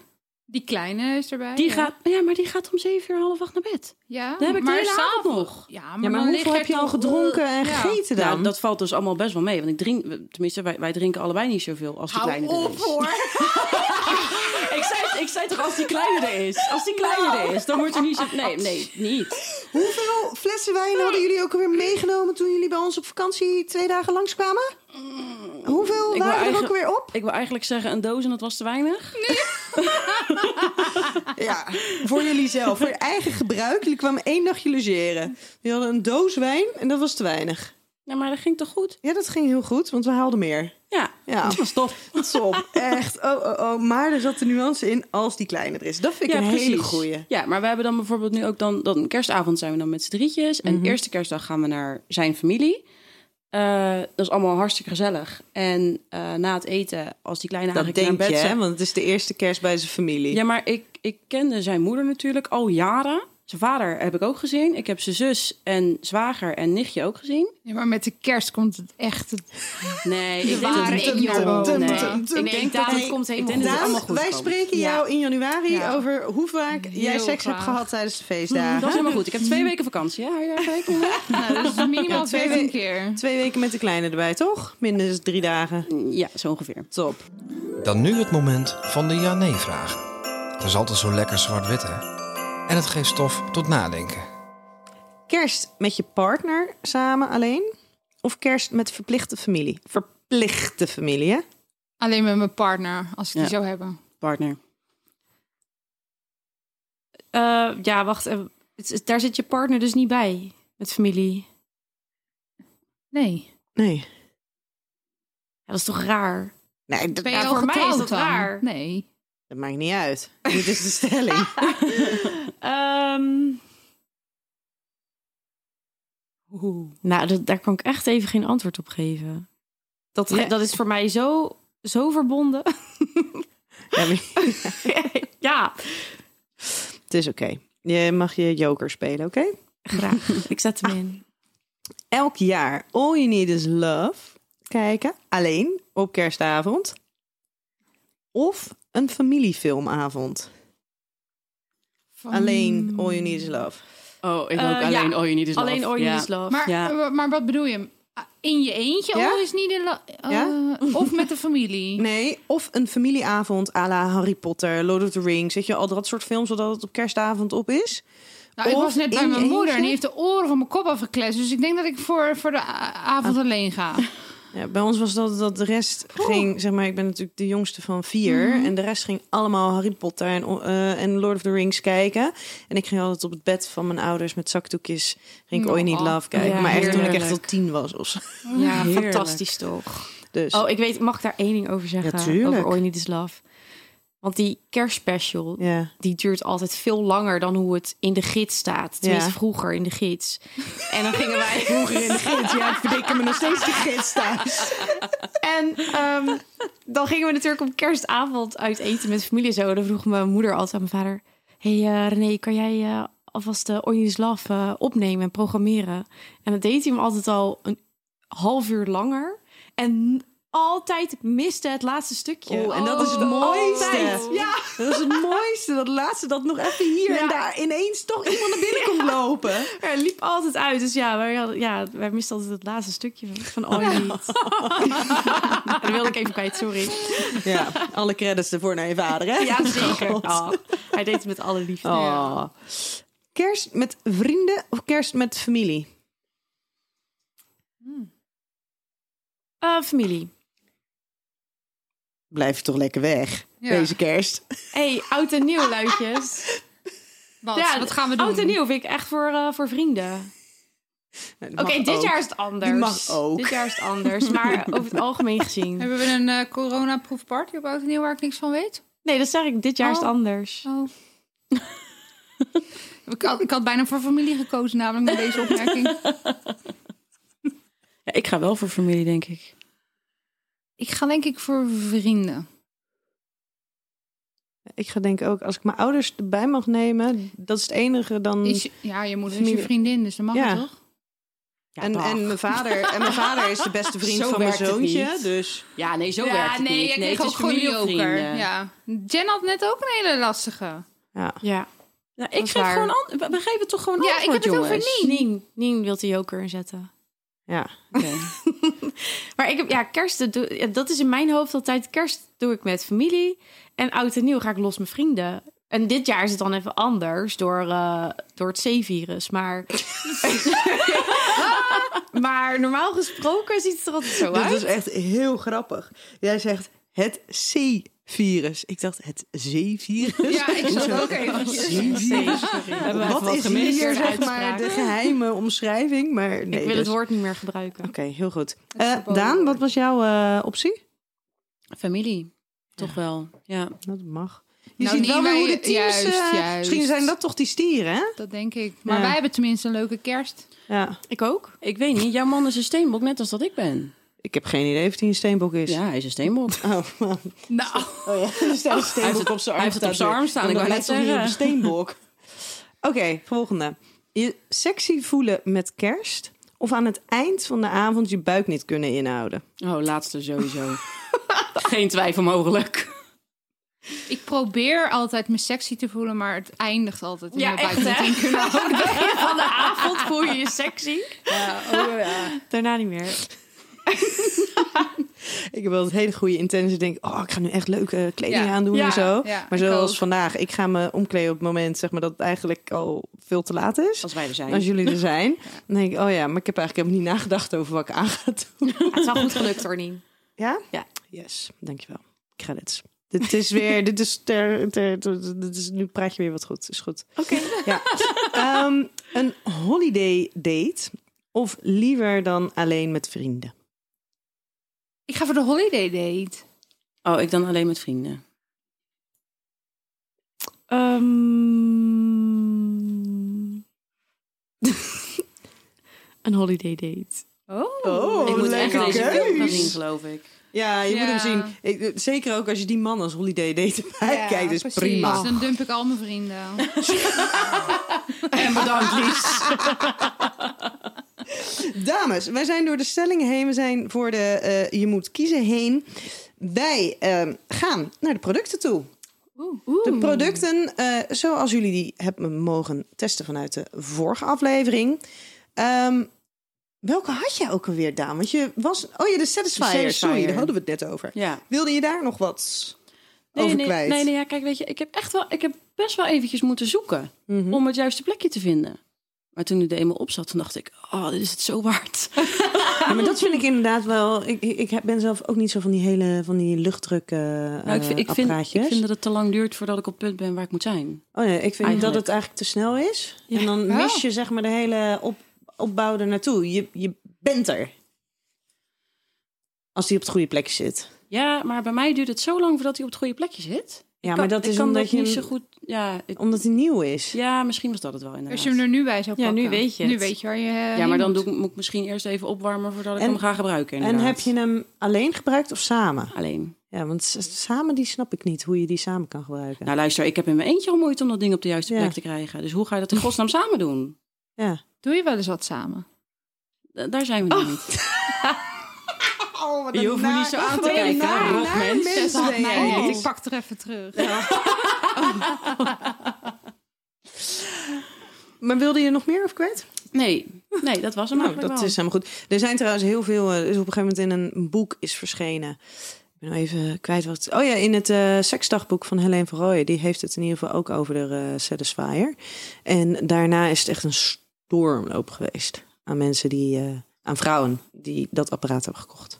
Speaker 3: Die kleine is erbij.
Speaker 4: Die
Speaker 3: Oh ja.
Speaker 4: gaat, Nou ja, maar die gaat om zeven uur half acht naar bed.
Speaker 3: Ja,
Speaker 4: Dan heb ik
Speaker 3: maar
Speaker 4: de hele avond
Speaker 3: s'avonds-
Speaker 4: nog.
Speaker 3: Ja, maar,
Speaker 2: Ja, maar
Speaker 3: dan lig
Speaker 2: hoeveel heb je
Speaker 3: toch-
Speaker 2: al gedronken en
Speaker 3: Ja.
Speaker 2: gegeten dan?
Speaker 4: Nou, dat valt dus allemaal best wel mee. Want ik drink, tenminste, wij, wij drinken allebei niet zoveel als die kleine er is.
Speaker 3: hoor.
Speaker 4: Ik zei, ik zei toch, als die kleine er is. Als die kleine er is, dan wordt er niet zo... Nee, nee, niet.
Speaker 2: Hoeveel flessen wijn hadden jullie ook alweer meegenomen toen jullie bij ons op vakantie twee dagen langskwamen? Hoeveel
Speaker 4: Ik
Speaker 2: waren
Speaker 4: wou
Speaker 2: er
Speaker 4: eigen-
Speaker 2: ook alweer op?
Speaker 4: Ik wil eigenlijk zeggen een doos en dat was te weinig.
Speaker 2: Ja, voor jullie zelf, voor je eigen gebruik. Jullie kwamen één dagje logeren. Jullie hadden een doos wijn en dat was te weinig.
Speaker 4: Nou, maar dat ging toch goed?
Speaker 2: Ja, dat ging heel goed, want we haalden meer.
Speaker 4: Ja,
Speaker 2: Ja,
Speaker 4: dat was tof.
Speaker 2: stop. Echt. Oh, oh, oh. Maar er zat de nuance in als die kleiner is. Dat vind ik een hele goeie.
Speaker 4: Ja, maar we hebben dan bijvoorbeeld nu ook dan, dan kerstavond zijn we dan met z'n drietjes. En
Speaker 2: Mhm.
Speaker 4: eerste kerstdag gaan we naar zijn familie. Eh, dat is allemaal hartstikke gezellig. En eh, na het eten, als die kleine
Speaker 2: Dat
Speaker 4: eigenlijk
Speaker 2: denk
Speaker 4: naar
Speaker 2: je,
Speaker 4: bed
Speaker 2: hè?
Speaker 4: zijn.
Speaker 2: Want het is de eerste kerst bij zijn familie.
Speaker 4: Ja, maar ik, ik kende zijn moeder natuurlijk al jaren. Zijn vader heb ik ook gezien. Ik heb zijn zus en zwager en nichtje ook gezien.
Speaker 3: Ja, maar met de kerst komt het echt.
Speaker 4: Nee,
Speaker 3: De
Speaker 4: ik denk dat
Speaker 3: ware
Speaker 4: het-
Speaker 3: ik
Speaker 4: Nee.
Speaker 3: naar boven.
Speaker 4: Nee.
Speaker 7: tum, tum. Ik denk dat het komt helemaal
Speaker 4: Ik denk dat het
Speaker 2: Daan,
Speaker 4: allemaal goed
Speaker 2: wij
Speaker 4: komt.
Speaker 2: spreken
Speaker 7: Ja.
Speaker 2: jou in januari
Speaker 3: Ja.
Speaker 2: over hoe vaak oh, jij
Speaker 3: Heel
Speaker 2: seks hebt
Speaker 3: graag.
Speaker 2: gehad tijdens de
Speaker 4: Dat
Speaker 2: feestdagen.
Speaker 4: is helemaal goed. Ik heb twee weken vakantie. Ja, hou je daar rekening mee?
Speaker 3: Nou, dus minimaal
Speaker 2: Ja, twee
Speaker 3: 15
Speaker 2: we-
Speaker 3: keer.
Speaker 2: Twee weken met de kleine erbij, toch? Minstens drie dagen.
Speaker 4: Ja, zo ongeveer.
Speaker 2: Top.
Speaker 9: Dan nu het moment van de ja-nee-vragen. Dat is altijd zo lekker zwart-wit, hè? En het geeft stof tot nadenken.
Speaker 2: Kerst met je partner samen alleen? Of kerst met verplichte familie? Verplichte familie, hè?
Speaker 3: Alleen met mijn partner, als ik die
Speaker 4: Ja.
Speaker 3: zou hebben.
Speaker 4: Partner.
Speaker 7: Eh, ja, wacht. eh, het is- daar zit je partner dus niet bij. Met familie.
Speaker 3: Nee.
Speaker 2: Nee.
Speaker 7: Ja, dat is toch raar?
Speaker 2: Nee, dat,
Speaker 3: Ben je
Speaker 7: Ja,
Speaker 3: al
Speaker 7: voor mij is
Speaker 3: getrouwd
Speaker 7: dat
Speaker 3: dan?
Speaker 7: raar.
Speaker 3: Nee.
Speaker 2: dat maakt niet uit. Dit is de stelling.
Speaker 7: Ehm. Oeh. Nou, dat- daar kan ik echt even geen antwoord op geven.
Speaker 2: Dat, ge-
Speaker 3: Ja.
Speaker 2: dat is voor mij zo, zo verbonden.
Speaker 1: Ja, maar
Speaker 2: ja,
Speaker 1: het is oké. Je mag je joker spelen, oké? Ah.
Speaker 2: graag. Ik zet hem in.
Speaker 1: Elk jaar All You Need Is Love kijken. Alleen op kerstavond. Of een familiefilmavond. Alleen All You Need Is Love.
Speaker 4: Oh, ik
Speaker 2: Eh,
Speaker 4: ook alleen
Speaker 2: ja.
Speaker 4: Oh You Need Is Love.
Speaker 2: Mm. Alleen All You Need Is Love.
Speaker 3: Maar,
Speaker 4: Ja.
Speaker 3: eh, maar wat bedoel je? In je eentje?
Speaker 1: Ja?
Speaker 3: Of, is niet in la- eh,
Speaker 1: Ja?
Speaker 3: of met de familie?
Speaker 1: Nee, of een familieavond à la Harry Potter, Lord of the Rings. Zet je al dat soort films, zodat het op kerstavond op is.
Speaker 3: Nou, ik
Speaker 1: Of
Speaker 3: was net bij
Speaker 1: in je
Speaker 3: mijn moeder en die heeft
Speaker 1: eentje?
Speaker 3: de oren van mijn kop afgekletst. Dus ik denk dat ik voor, voor de a- avond alleen ga.
Speaker 1: Ja, bij ons was dat dat de rest ging, zeg maar, ik ben natuurlijk de jongste van vier.
Speaker 2: Mhm.
Speaker 1: En de rest ging allemaal Harry Potter en, eh, en Lord of the Rings kijken. En ik ging altijd op het bed van mijn ouders met zakdoekjes. Ging ik
Speaker 3: Nou.
Speaker 1: ooit niet love kijken.
Speaker 2: Ja,
Speaker 1: maar echt toen ik echt
Speaker 4: heerlijk.
Speaker 1: al tien was of zo.
Speaker 2: Ja,
Speaker 4: Heerlijk.
Speaker 2: fantastisch toch?
Speaker 1: Dus
Speaker 2: Oh, ik weet, mag ik daar één ding over
Speaker 1: Ja,
Speaker 2: zeggen?
Speaker 1: tuurlijk.
Speaker 2: over All You Need Is Love. Want die kerstspecial,
Speaker 1: ja.
Speaker 2: die duurt altijd veel langer dan hoe het in de gids staat. Tenminste,
Speaker 1: Ja.
Speaker 2: vroeger in de gids. En dan gingen wij...
Speaker 1: Vroeger in de gids, ja, ik verdikken me nog steeds de gids thuis.
Speaker 2: En ehm, dan gingen we natuurlijk op kerstavond uit eten met familie en zo. Dan vroeg mijn moeder altijd aan mijn vader... hey, eh, René, kan jij eh, alvast de All You Need Is Love eh, opnemen en programmeren? En dat deed hij hem altijd al een half uur langer. En altijd miste het laatste stukje.
Speaker 1: Oh, en dat is het
Speaker 2: Oh,
Speaker 1: mooiste.
Speaker 2: altijd. Ja.
Speaker 1: Dat is het mooiste, dat laatste dat nog even hier
Speaker 2: Ja.
Speaker 1: en daar ineens toch iemand naar binnen komt lopen.
Speaker 2: Er liep altijd uit. Dus ja, wij, hadden- ja, wij misten altijd het laatste stukje van- van All You Need. dat wilde ik even kwijt, sorry.
Speaker 1: Ja, alle credits ervoor naar je vader, hè?
Speaker 2: Ja, zeker. Oh, hij deed het met alle liefde.
Speaker 1: Oh. Kerst met vrienden of kerst met familie?
Speaker 2: Eh, familie.
Speaker 1: Blijf je toch lekker weg,
Speaker 3: Ja.
Speaker 1: deze kerst.
Speaker 2: hey, oud en nieuw, luidjes.
Speaker 3: Wat, wat gaan we doen?
Speaker 2: Oud en nieuw vind ik echt voor, eh, voor vrienden. Oké, dit jaar is het anders.
Speaker 1: Die mag ook.
Speaker 2: Dit jaar is het anders, maar over het algemeen gezien.
Speaker 3: Hebben we een eh corona-proefparty op Oud en Nieuw waar ik niks van weet?
Speaker 2: Nee, dat zeg ik, dit jaar is het
Speaker 3: Oh.
Speaker 2: anders.
Speaker 3: Oh. ik, had, ik had bijna voor familie gekozen, namelijk met deze opmerking.
Speaker 4: Ja, ik ga wel voor familie, denk ik.
Speaker 3: Ik ga denk ik voor vrienden.
Speaker 1: Ik ga denken ook, als ik mijn ouders erbij mag nemen, dat is het enige
Speaker 2: Hmm.
Speaker 1: dan...
Speaker 3: Is je- ja, je moeder is je
Speaker 1: Familie.
Speaker 3: vriendin, dus dat mag
Speaker 1: Ja.
Speaker 3: het, toch?
Speaker 1: en, en, mijn vader, en mijn vader is de beste vriend
Speaker 4: Zo
Speaker 1: van mijn
Speaker 4: werkt het
Speaker 1: zoontje,
Speaker 4: niet.
Speaker 1: dus...
Speaker 4: Ja, nee, zo
Speaker 3: ja,
Speaker 4: werkt het
Speaker 3: nee,
Speaker 4: niet.
Speaker 3: jij
Speaker 4: nee,
Speaker 3: kreeg
Speaker 4: het
Speaker 3: ook
Speaker 4: is
Speaker 3: gewoon een
Speaker 4: familie of
Speaker 3: joker.
Speaker 4: vrienden.
Speaker 3: Ja. Jen had net ook een hele lastige.
Speaker 2: Ja.
Speaker 4: Nou,
Speaker 2: Dat
Speaker 4: ik
Speaker 2: is
Speaker 4: geef
Speaker 2: waar.
Speaker 4: gewoon an- we- we geven toch gewoon
Speaker 3: Ja, ik
Speaker 4: antwoord,
Speaker 3: heb het over
Speaker 4: jongens.
Speaker 2: Nien. Nien wil de joker inzetten.
Speaker 1: Ja.
Speaker 4: Oké.
Speaker 2: Maar ik heb, ja, kerst, dat doe- ja, dat is in mijn hoofd altijd. Kerst doe ik met familie. En oud en nieuw ga ik los met vrienden. En dit jaar is het dan even anders door, eh, door het C-virus. Maar... maar normaal gesproken ziet het er altijd zo
Speaker 1: Dit
Speaker 2: uit.
Speaker 1: is echt heel grappig. Jij zegt het C-virus. Ik dacht het
Speaker 7: Dus
Speaker 1: Z-virus.
Speaker 3: Ja, ik zat ook eventjes.
Speaker 1: C-virus.
Speaker 2: hebben
Speaker 1: Wat
Speaker 2: even
Speaker 1: is
Speaker 2: gemist.
Speaker 1: hier zeg maar
Speaker 2: Uitspraak.
Speaker 1: de geheime omschrijving? Maar nee,
Speaker 2: ik wil
Speaker 1: dus-
Speaker 2: het woord niet meer gebruiken.
Speaker 1: Oké, heel goed.
Speaker 3: Het is
Speaker 1: Eh,
Speaker 3: verboden
Speaker 1: Daan, wat
Speaker 3: woord.
Speaker 1: was jouw eh, optie?
Speaker 4: Familie. Toch wel. Ja.
Speaker 1: Dat mag. Je
Speaker 3: Nou,
Speaker 1: ziet wel
Speaker 3: die
Speaker 1: weer hoe
Speaker 3: wij-
Speaker 1: de teams...
Speaker 3: juist,
Speaker 1: eh,
Speaker 3: juist.
Speaker 1: Misschien zijn dat toch die stieren, hè?
Speaker 3: Dat denk ik. Maar
Speaker 1: Ja.
Speaker 3: wij hebben tenminste een leuke kerst.
Speaker 1: Ja.
Speaker 2: Ik ook.
Speaker 4: Ik weet niet, jouw man is een steenbok, net als dat ik ben.
Speaker 1: Ik heb geen idee of die een steenbok is.
Speaker 4: Ja, hij is een steenbok.
Speaker 1: Oh, man.
Speaker 3: Nou,
Speaker 1: Oh, ja. Dus daar is
Speaker 4: Hij
Speaker 1: steenbok
Speaker 4: heeft het-
Speaker 1: op zijn
Speaker 4: hij
Speaker 1: arm
Speaker 4: heeft het op zijn
Speaker 1: weer.
Speaker 4: arm staan,
Speaker 1: Dan
Speaker 4: ik wou
Speaker 1: lijkt
Speaker 4: net
Speaker 1: het niet op een
Speaker 4: zeggen.
Speaker 1: steenbok. Oké, volgende. Je sexy voelen met kerst of aan het eind van de avond je buik niet kunnen inhouden?
Speaker 4: Oh, laatste sowieso. Geen twijfel mogelijk.
Speaker 3: ik probeer altijd me sexy te voelen, maar het eindigt altijd in
Speaker 2: Ja,
Speaker 3: mijn buik.
Speaker 2: echt hè? Aan het begin van de avond voel je je sexy. Daarna niet meer.
Speaker 1: Ik heb wel het hele goede intentie. Denk, oh, ik ga nu echt leuke kleding
Speaker 3: Ja,
Speaker 1: aandoen
Speaker 3: ja,
Speaker 1: en zo.
Speaker 3: ja,
Speaker 1: maar
Speaker 3: ik
Speaker 1: zoals
Speaker 3: ook.
Speaker 1: vandaag, ik ga me omkleden op het moment zeg maar, dat het eigenlijk al veel te laat is.
Speaker 4: Als wij er zijn.
Speaker 1: Als jullie er zijn, dan denk ik, oh ja, maar ik heb eigenlijk helemaal niet nagedacht over wat ik aan ga doen.
Speaker 2: Ja, het is wel goed gelukt hoor, Nien.
Speaker 1: Ja?
Speaker 2: Ja.
Speaker 1: Yes, dankjewel. Credits. Dit is weer, dit is, ter, ter- ter- dit is, nu praat je weer wat goed. Is goed. Oké. Ja. Ehm, een holiday date of liever dan alleen met vrienden?
Speaker 3: Ik ga voor de holiday date.
Speaker 4: Oh, ik dan alleen met vrienden.
Speaker 2: Ehm, een holiday date.
Speaker 3: Oh.
Speaker 1: Oh,
Speaker 4: ik moet echt
Speaker 1: leuke
Speaker 4: deze film gaan
Speaker 1: keus.
Speaker 4: zien, geloof ik.
Speaker 1: Ja, je moet
Speaker 3: Ja.
Speaker 1: hem zien. Ik, eh, zeker ook als je die man als holiday date erbij
Speaker 3: Ja,
Speaker 1: kijkt. is
Speaker 3: precies.
Speaker 1: prima.
Speaker 3: Dus Dan dump ik al mijn vrienden.
Speaker 4: En bedankt, Lies.
Speaker 2: Dames, wij zijn door de stelling heen. We zijn voor de eh, je moet kiezen heen. Wij eh, gaan naar de producten toe. De producten, eh, zoals jullie die hebben mogen testen vanuit de vorige aflevering. Ehm, welke had jij ook alweer, Daan? Want je was... Oh ja, de Satisfier.
Speaker 4: De Satisfier.
Speaker 2: Sorry, daar hadden we het net over.
Speaker 4: Ja.
Speaker 2: Wilde je daar nog wat
Speaker 4: Nee,
Speaker 2: over
Speaker 4: nee,
Speaker 2: kwijt?
Speaker 4: nee, nee, ja, kijk, weet je, ik heb echt wel, ik heb best wel eventjes moeten zoeken
Speaker 2: Mhm.
Speaker 4: om het juiste plekje te vinden. Maar toen het er eenmaal op zat, toen dacht ik, oh, dit is het zo waard.
Speaker 1: Ja, maar dat vind ik inderdaad wel. Ik, ik ik ben zelf ook niet zo van die hele van die luchtdruk eh
Speaker 4: Nou, ik, vind- ik, vind, ik
Speaker 1: apparaatjes.
Speaker 4: vind dat het te lang duurt voordat ik op het punt ben waar ik moet zijn.
Speaker 1: Oh nee, ik vind dat
Speaker 4: Eigenlijk.
Speaker 1: het eigenlijk te snel is.
Speaker 4: Ja.
Speaker 1: En dan mis je zeg maar de hele op, opbouw er naartoe. Je, je bent er. Als die op het goede plekje zit.
Speaker 4: Ja, maar bij mij duurt het zo lang voordat hij op het goede plekje zit. Ik
Speaker 1: Ja,
Speaker 4: kan-
Speaker 1: maar dat
Speaker 4: ik
Speaker 1: is
Speaker 4: kan
Speaker 1: omdat
Speaker 4: dat
Speaker 1: je
Speaker 4: niet
Speaker 1: hem-
Speaker 4: zo goed. Ja, het-
Speaker 1: Omdat hij nieuw is.
Speaker 4: ja, misschien was dat het wel inderdaad.
Speaker 3: Als je hem er nu bij zou
Speaker 7: Ja,
Speaker 3: pakken.
Speaker 7: nu weet je het.
Speaker 3: Nu weet je waar je eh,
Speaker 4: ja, maar
Speaker 3: heen
Speaker 4: dan
Speaker 3: moet.
Speaker 4: doe ik, moet ik misschien eerst even opwarmen voordat ik
Speaker 1: En-
Speaker 4: hem ga gebruiken.
Speaker 1: en
Speaker 4: inderdaad.
Speaker 1: heb je hem alleen gebruikt of samen?
Speaker 4: alleen?
Speaker 1: Ja, want s- samen die snap ik niet hoe je die samen kan gebruiken.
Speaker 4: Nou, luister, ik heb in mijn eentje al moeite om dat ding op de juiste
Speaker 1: Ja.
Speaker 4: plek te krijgen. Dus hoe ga je dat in godsnaam samen doen?
Speaker 1: ja.
Speaker 3: Doe je wel eens wat samen?
Speaker 4: Da- Daar zijn we nog niet.
Speaker 2: Oh, wat
Speaker 4: Je hoeft me niet zo aan te kijken.
Speaker 2: naar,
Speaker 4: Rob,
Speaker 2: naar
Speaker 4: mens.
Speaker 2: mensen Oh,
Speaker 3: Zes had
Speaker 2: ben
Speaker 3: mij
Speaker 2: jij.
Speaker 3: niet. Oh. Ik pak er even terug.
Speaker 2: Maar wilde je nog meer of kwijt?
Speaker 4: Nee, nee, dat was hem
Speaker 2: Nou,
Speaker 4: eigenlijk
Speaker 2: dat
Speaker 4: wel.
Speaker 2: is helemaal goed. Er zijn trouwens heel veel. eh, is op een gegeven moment in een boek is verschenen. Ik ben nou even kwijt wat. Oh ja, in het eh, seksdagboek van Helene van Rooyen. Die heeft het in ieder geval ook over de eh, Satisfier. En daarna is het echt een stormloop geweest aan mensen die, eh, aan vrouwen die dat apparaat hebben gekocht.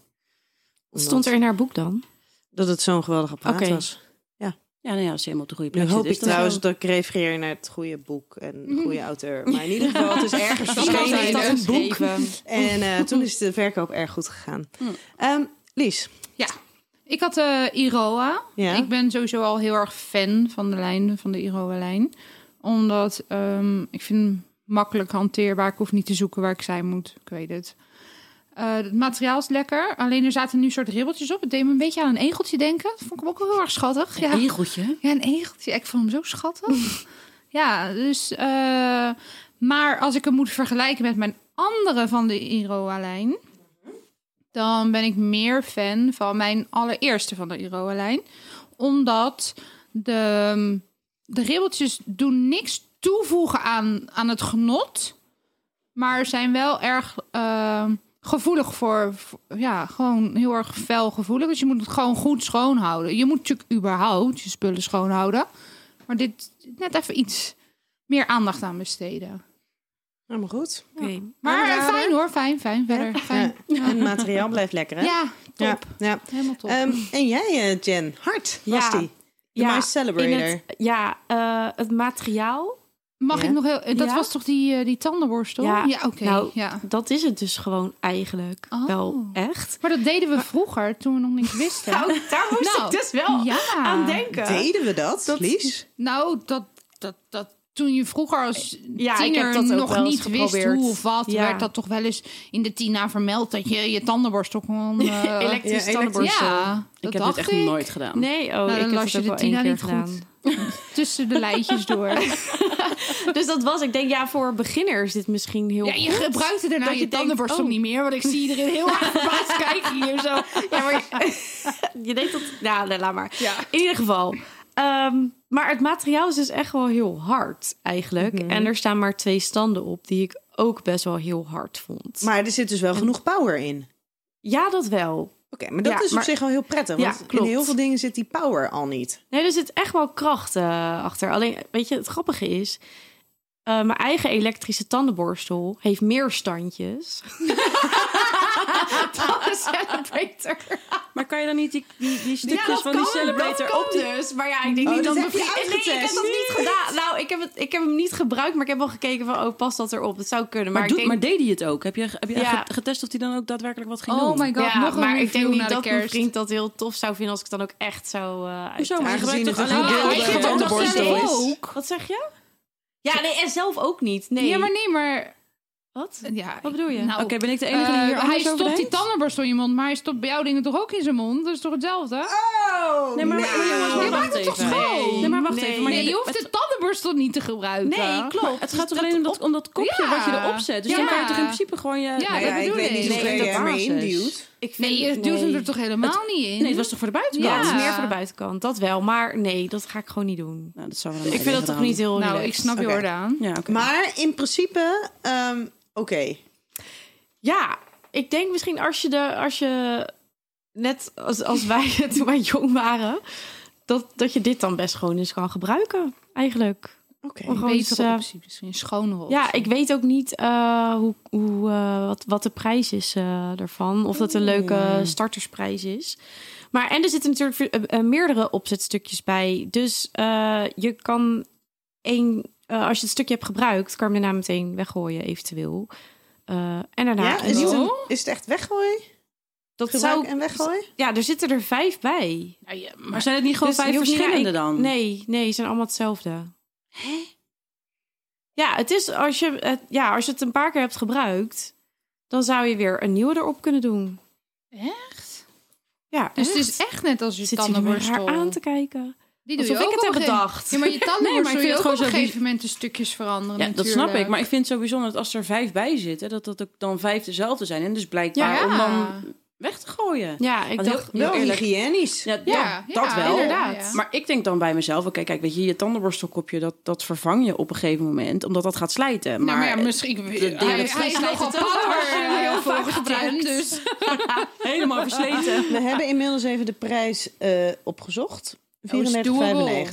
Speaker 7: Wat
Speaker 2: Omdat-
Speaker 7: stond er in haar boek dan?
Speaker 2: dat het zo'n geweldig apparaat
Speaker 7: Oké.
Speaker 2: was.
Speaker 4: Ja, nou ja, als je helemaal op de goede
Speaker 2: Nu
Speaker 4: plek
Speaker 2: hoop
Speaker 4: zit. is
Speaker 2: ik
Speaker 4: dat
Speaker 2: trouwens
Speaker 4: wel-
Speaker 2: dat ik refereer naar het goede boek en
Speaker 7: Mhm.
Speaker 2: de goede auteur. Maar in ieder geval, het is ergens verschenen.
Speaker 3: zijn
Speaker 2: is dat
Speaker 3: er.
Speaker 2: een boek.
Speaker 4: Even.
Speaker 2: En eh, toen is de verkoop erg goed gegaan. Ehm, Lies,
Speaker 3: Ik had eh Iroa.
Speaker 2: Ja.
Speaker 3: Ik ben sowieso al heel erg fan van de lijn, van de Iroa-lijn. Omdat ehm, ik vind hem makkelijk hanteerbaar. Ik hoef niet te zoeken waar ik zijn moet. Ik weet het. Eh, het materiaal is lekker. Alleen er zaten nu soort ribbeltjes op. Het deed me een beetje aan een egeltje denken. Dat vond ik hem ook wel heel erg schattig. Ja.
Speaker 4: Egeltje.
Speaker 3: Ja, een egeltje. Ik vond hem zo schattig. ja, dus... eh, maar als ik hem moet vergelijken met mijn andere van de Iroa-lijn... dan ben ik meer fan van mijn allereerste van de Iroa-lijn. Omdat de, de ribbeltjes doen niks toevoegen aan, aan het genot... maar zijn wel erg... eh, Gevoelig voor, voor- ja, gewoon heel erg fel gevoelig. Dus je moet het gewoon goed schoonhouden. Je moet natuurlijk überhaupt je spullen schoonhouden. Maar dit net even iets meer aandacht aan besteden.
Speaker 2: helemaal goed.
Speaker 7: Oké.
Speaker 3: Maar eh,
Speaker 2: Aanrader.
Speaker 3: fijn hoor, fijn, fijn, verder. Fijn.
Speaker 2: Ja. En het materiaal blijft lekker, hè?
Speaker 3: Ja,
Speaker 2: ja.
Speaker 3: top.
Speaker 2: ja.
Speaker 3: Helemaal top.
Speaker 2: Ehm, en jij, eh, Jen, hard was
Speaker 7: Ja.
Speaker 2: die. De
Speaker 7: Ja,
Speaker 2: Mice Celebrator.
Speaker 7: In het, ja, eh, het materiaal.
Speaker 3: Mag
Speaker 2: ja.
Speaker 3: ik nog heel... eh, Dat
Speaker 7: Ja.
Speaker 3: was toch die, eh, die tandenborstel?
Speaker 7: Ja,
Speaker 3: oké.
Speaker 7: nou-
Speaker 3: ja.
Speaker 7: Dat is het dus gewoon eigenlijk
Speaker 3: Oh.
Speaker 7: wel echt.
Speaker 3: Maar dat deden we vroeger, toen we nog niks wisten.
Speaker 7: daar
Speaker 3: moest Nou, ik
Speaker 7: dus wel
Speaker 3: ja.
Speaker 4: Ah,
Speaker 7: denken.
Speaker 2: Deden we dat, Lies?
Speaker 3: Nou, dat, dat, dat toen je vroeger als
Speaker 7: Ja, ik
Speaker 3: tiener
Speaker 7: heb dat ook
Speaker 3: nog
Speaker 7: wel eens
Speaker 3: niet wist
Speaker 7: geprobeerd.
Speaker 3: hoe of wat...
Speaker 7: Ja.
Speaker 3: werd dat toch wel eens in de Tina vermeld... dat je je tandenborstel kon... eh,
Speaker 7: Elektrisch
Speaker 2: Ja,
Speaker 7: tandenborstel.
Speaker 3: ja, dat
Speaker 4: Ik heb
Speaker 3: dacht
Speaker 4: dit echt
Speaker 3: ik.
Speaker 4: nooit gedaan.
Speaker 7: Nee, oh, ik
Speaker 3: dan
Speaker 7: heb
Speaker 3: las
Speaker 7: het
Speaker 3: je
Speaker 7: ook
Speaker 3: de
Speaker 7: wel één
Speaker 3: Tina
Speaker 7: keer
Speaker 3: niet goed.
Speaker 7: gedaan.
Speaker 3: Tussen de lijntjes door.
Speaker 7: Dus dat was, ik denk, ja, voor beginners is dit misschien heel
Speaker 3: Ja, je
Speaker 7: goed.
Speaker 3: gebruikte daarna
Speaker 7: Dat
Speaker 3: Nou, je,
Speaker 7: je denkt,
Speaker 3: tandenborstel
Speaker 7: oh.
Speaker 3: niet meer, want ik zie iedereen heel erg verbaasd kijken hier zo.
Speaker 7: Ja, maar je deed dat... Nou, nee, laat maar.
Speaker 3: Ja.
Speaker 7: In ieder geval. Ehm, maar het materiaal is dus echt wel heel hard, eigenlijk.
Speaker 4: Mhm.
Speaker 7: En er staan maar twee standen op, die ik ook best wel heel hard vond.
Speaker 2: Maar er zit dus wel genoeg power in. Oké,
Speaker 7: ja, dat wel.
Speaker 2: maar dat
Speaker 7: Ja,
Speaker 2: is op
Speaker 7: maar-
Speaker 2: zich al heel prettig. Want
Speaker 7: Ja,
Speaker 2: in
Speaker 7: klopt.
Speaker 2: heel veel dingen zit die power al niet.
Speaker 7: Nee, er zit echt wel kracht eh, achter. Alleen, weet je, het grappige is... eh, mijn eigen elektrische tandenborstel heeft meer standjes.
Speaker 3: Celebrator.
Speaker 4: Maar kan je dan niet die, die, die stukjes
Speaker 7: dat
Speaker 4: van
Speaker 7: kan,
Speaker 4: die celebrator
Speaker 7: dat kan
Speaker 4: op die...
Speaker 7: dus. Maar ja, ik denk
Speaker 2: Oh,
Speaker 7: niet
Speaker 2: dat
Speaker 7: dat
Speaker 2: heb
Speaker 7: mijn
Speaker 2: je
Speaker 7: vriend- Nee, ik heb dat
Speaker 2: uitgetest.
Speaker 7: niet gedaan. Nou, ik heb, het, ik heb hem niet gebruikt, maar ik heb wel gekeken van... Oh, past dat erop? Dat zou kunnen. Maar,
Speaker 4: Maar,
Speaker 7: ik
Speaker 4: doet-
Speaker 7: denk,
Speaker 4: maar deed hij het ook? Heb je, heb je
Speaker 7: Ja.
Speaker 4: ge- getest of hij dan ook daadwerkelijk wat ging doen?
Speaker 3: Oh my god,
Speaker 7: ja,
Speaker 3: nog een
Speaker 7: maar ik denk niet
Speaker 3: naar
Speaker 7: dat
Speaker 3: de
Speaker 7: mijn
Speaker 3: kerst.
Speaker 7: vriend dat heel tof zou vinden... als ik het dan ook echt zou eh
Speaker 4: Hoezo? Maar je
Speaker 2: Aangezien
Speaker 4: gebruikt toch
Speaker 2: het een
Speaker 4: alleen
Speaker 2: gedeelde-
Speaker 4: je
Speaker 3: Ah,
Speaker 4: eigen
Speaker 3: ik dacht dat
Speaker 4: tandenborstel?
Speaker 3: zelf
Speaker 7: is.
Speaker 3: ook.
Speaker 7: Wat zeg je? Ja, nee, en zelf ook niet. Nee.
Speaker 3: Ja, maar nee, maar
Speaker 7: Wat?
Speaker 3: Ja,
Speaker 7: Wat bedoel je?
Speaker 3: nou,
Speaker 4: Oké, ben ik de enige die
Speaker 3: eh,
Speaker 4: hier
Speaker 3: hij
Speaker 4: anders over
Speaker 3: stopt die
Speaker 4: denkt?
Speaker 3: tandenborstel in je mond, maar hij stopt bij jouw dingen toch ook in zijn mond? Dat is toch hetzelfde?
Speaker 2: Oh!
Speaker 4: Nee, maar,
Speaker 3: nou.
Speaker 4: maar jongens, maar
Speaker 3: je
Speaker 4: wacht
Speaker 3: maakt het toch
Speaker 4: even.
Speaker 3: schoon?
Speaker 4: Nee, maar wacht even. Maar
Speaker 3: nee, je hoeft de tandenborstel niet te gebruiken.
Speaker 4: Nee, klopt. het gaat toch alleen om dat, om dat kopje
Speaker 3: Ja.
Speaker 4: wat je erop zet. Dus
Speaker 3: Ja.
Speaker 4: dan kan je toch in principe gewoon je...
Speaker 3: Ja, dat
Speaker 2: ik
Speaker 3: bedoel
Speaker 2: weet
Speaker 3: ik.
Speaker 2: niet
Speaker 3: Nee,
Speaker 2: hoeveel je
Speaker 4: dat
Speaker 2: hem erin
Speaker 4: basis.
Speaker 2: duwt.
Speaker 7: Ik vind-
Speaker 3: Nee, je duwt hem
Speaker 7: nee.
Speaker 3: er toch helemaal niet in?
Speaker 4: Nee, het was toch voor de
Speaker 3: Ja.
Speaker 4: buitenkant?
Speaker 7: Ja, het is meer voor de buitenkant. Dat wel. Maar nee, dat ga ik gewoon niet doen.
Speaker 4: Nou, dat zou wel
Speaker 7: Ik vind dat toch niet heel
Speaker 3: Nou,
Speaker 7: relaxed.
Speaker 3: ik snap je
Speaker 2: Oké.
Speaker 3: Jordaan.
Speaker 4: Ja, oké.
Speaker 2: Maar in principe, ehm, oké.
Speaker 7: Ja, ik denk misschien als je de als je net als, als wij toen wij jong waren, dat, dat je dit dan best gewoon eens kan gebruiken. Eigenlijk.
Speaker 2: Oké.
Speaker 7: Om gewoon eens,
Speaker 3: Betere
Speaker 7: eh,
Speaker 3: optie misschien, schonere optie.
Speaker 7: ja, ik weet ook niet eh, hoe, hoe, eh, wat, wat de prijs is eh daarvan. Of dat een leuke
Speaker 3: Hmm.
Speaker 7: startersprijs is. Maar en er zitten natuurlijk eh, eh, meerdere opzetstukjes bij. Dus eh, je kan één, eh, als je het stukje hebt gebruikt, kan je hem daarna meteen weggooien, eventueel. Eh, en daarna
Speaker 2: Ja,
Speaker 7: een
Speaker 2: is het,
Speaker 7: nieuwe.
Speaker 2: een- is het echt weggooi?
Speaker 7: dat
Speaker 2: Gebruik
Speaker 7: zou
Speaker 2: en weggooi?
Speaker 7: Ja, er zitten er vijf bij.
Speaker 3: Ja, ja, maar
Speaker 4: Maar zijn het niet gewoon
Speaker 7: Dus
Speaker 4: vijf
Speaker 7: je hoeft niet naar
Speaker 4: verschillende
Speaker 7: één-
Speaker 4: dan?
Speaker 7: Nee, nee, ze zijn allemaal hetzelfde. Hè? Ja, het is als je het, ja, als je het een paar keer hebt gebruikt, dan zou je weer een nieuwe erop kunnen doen.
Speaker 3: echt?
Speaker 7: Ja,
Speaker 3: Dus het is echt net als je
Speaker 7: Zit jullie me
Speaker 3: tandenborstel.
Speaker 7: raar aan te kijken?
Speaker 3: Die doe
Speaker 7: Alsof
Speaker 3: je
Speaker 7: ik
Speaker 3: ook
Speaker 7: het
Speaker 3: op
Speaker 7: heb
Speaker 3: een gegeven-
Speaker 7: bedacht.
Speaker 3: Ja, maar je
Speaker 4: Nee, maar ik
Speaker 3: tandenborstel
Speaker 4: vind
Speaker 3: zul
Speaker 4: het
Speaker 3: je ook op
Speaker 4: gewoon
Speaker 3: een
Speaker 4: zo
Speaker 3: gegeven
Speaker 4: bizar.
Speaker 3: moment de stukjes veranderen
Speaker 4: Ja, dat
Speaker 3: natuurlijk.
Speaker 4: snap ik. Maar ik vind het zo bijzonder dat als er vijf bij zitten, dat dat ook dan vijf dezelfde zijn. En dus blijkbaar
Speaker 3: Ja.
Speaker 4: om dan weg te gooien.
Speaker 7: Ja, ik
Speaker 4: Want heel-
Speaker 7: dacht.
Speaker 4: heel
Speaker 2: Wel
Speaker 4: eerlijk-
Speaker 2: hygiënisch.
Speaker 4: Ja, dat-
Speaker 3: Ja,
Speaker 4: dat
Speaker 3: ja,
Speaker 4: wel.
Speaker 3: inderdaad. Ja.
Speaker 4: Maar ik denk dan bij mezelf, oké, kijk, weet je, je tandenborstelkopje, dat, dat vervang je op een gegeven moment, omdat dat gaat slijten.
Speaker 3: Nou,
Speaker 4: Maar, eh,
Speaker 3: maar ja, misschien... hij,
Speaker 4: dat
Speaker 3: hij is
Speaker 4: slijt
Speaker 3: nogal
Speaker 4: het ook.
Speaker 3: power eh, heel veel gebruikt, dus...
Speaker 4: helemaal versleten.
Speaker 2: We hebben inmiddels even de prijs eh, opgezocht. 34,95.
Speaker 3: Oh, is doable.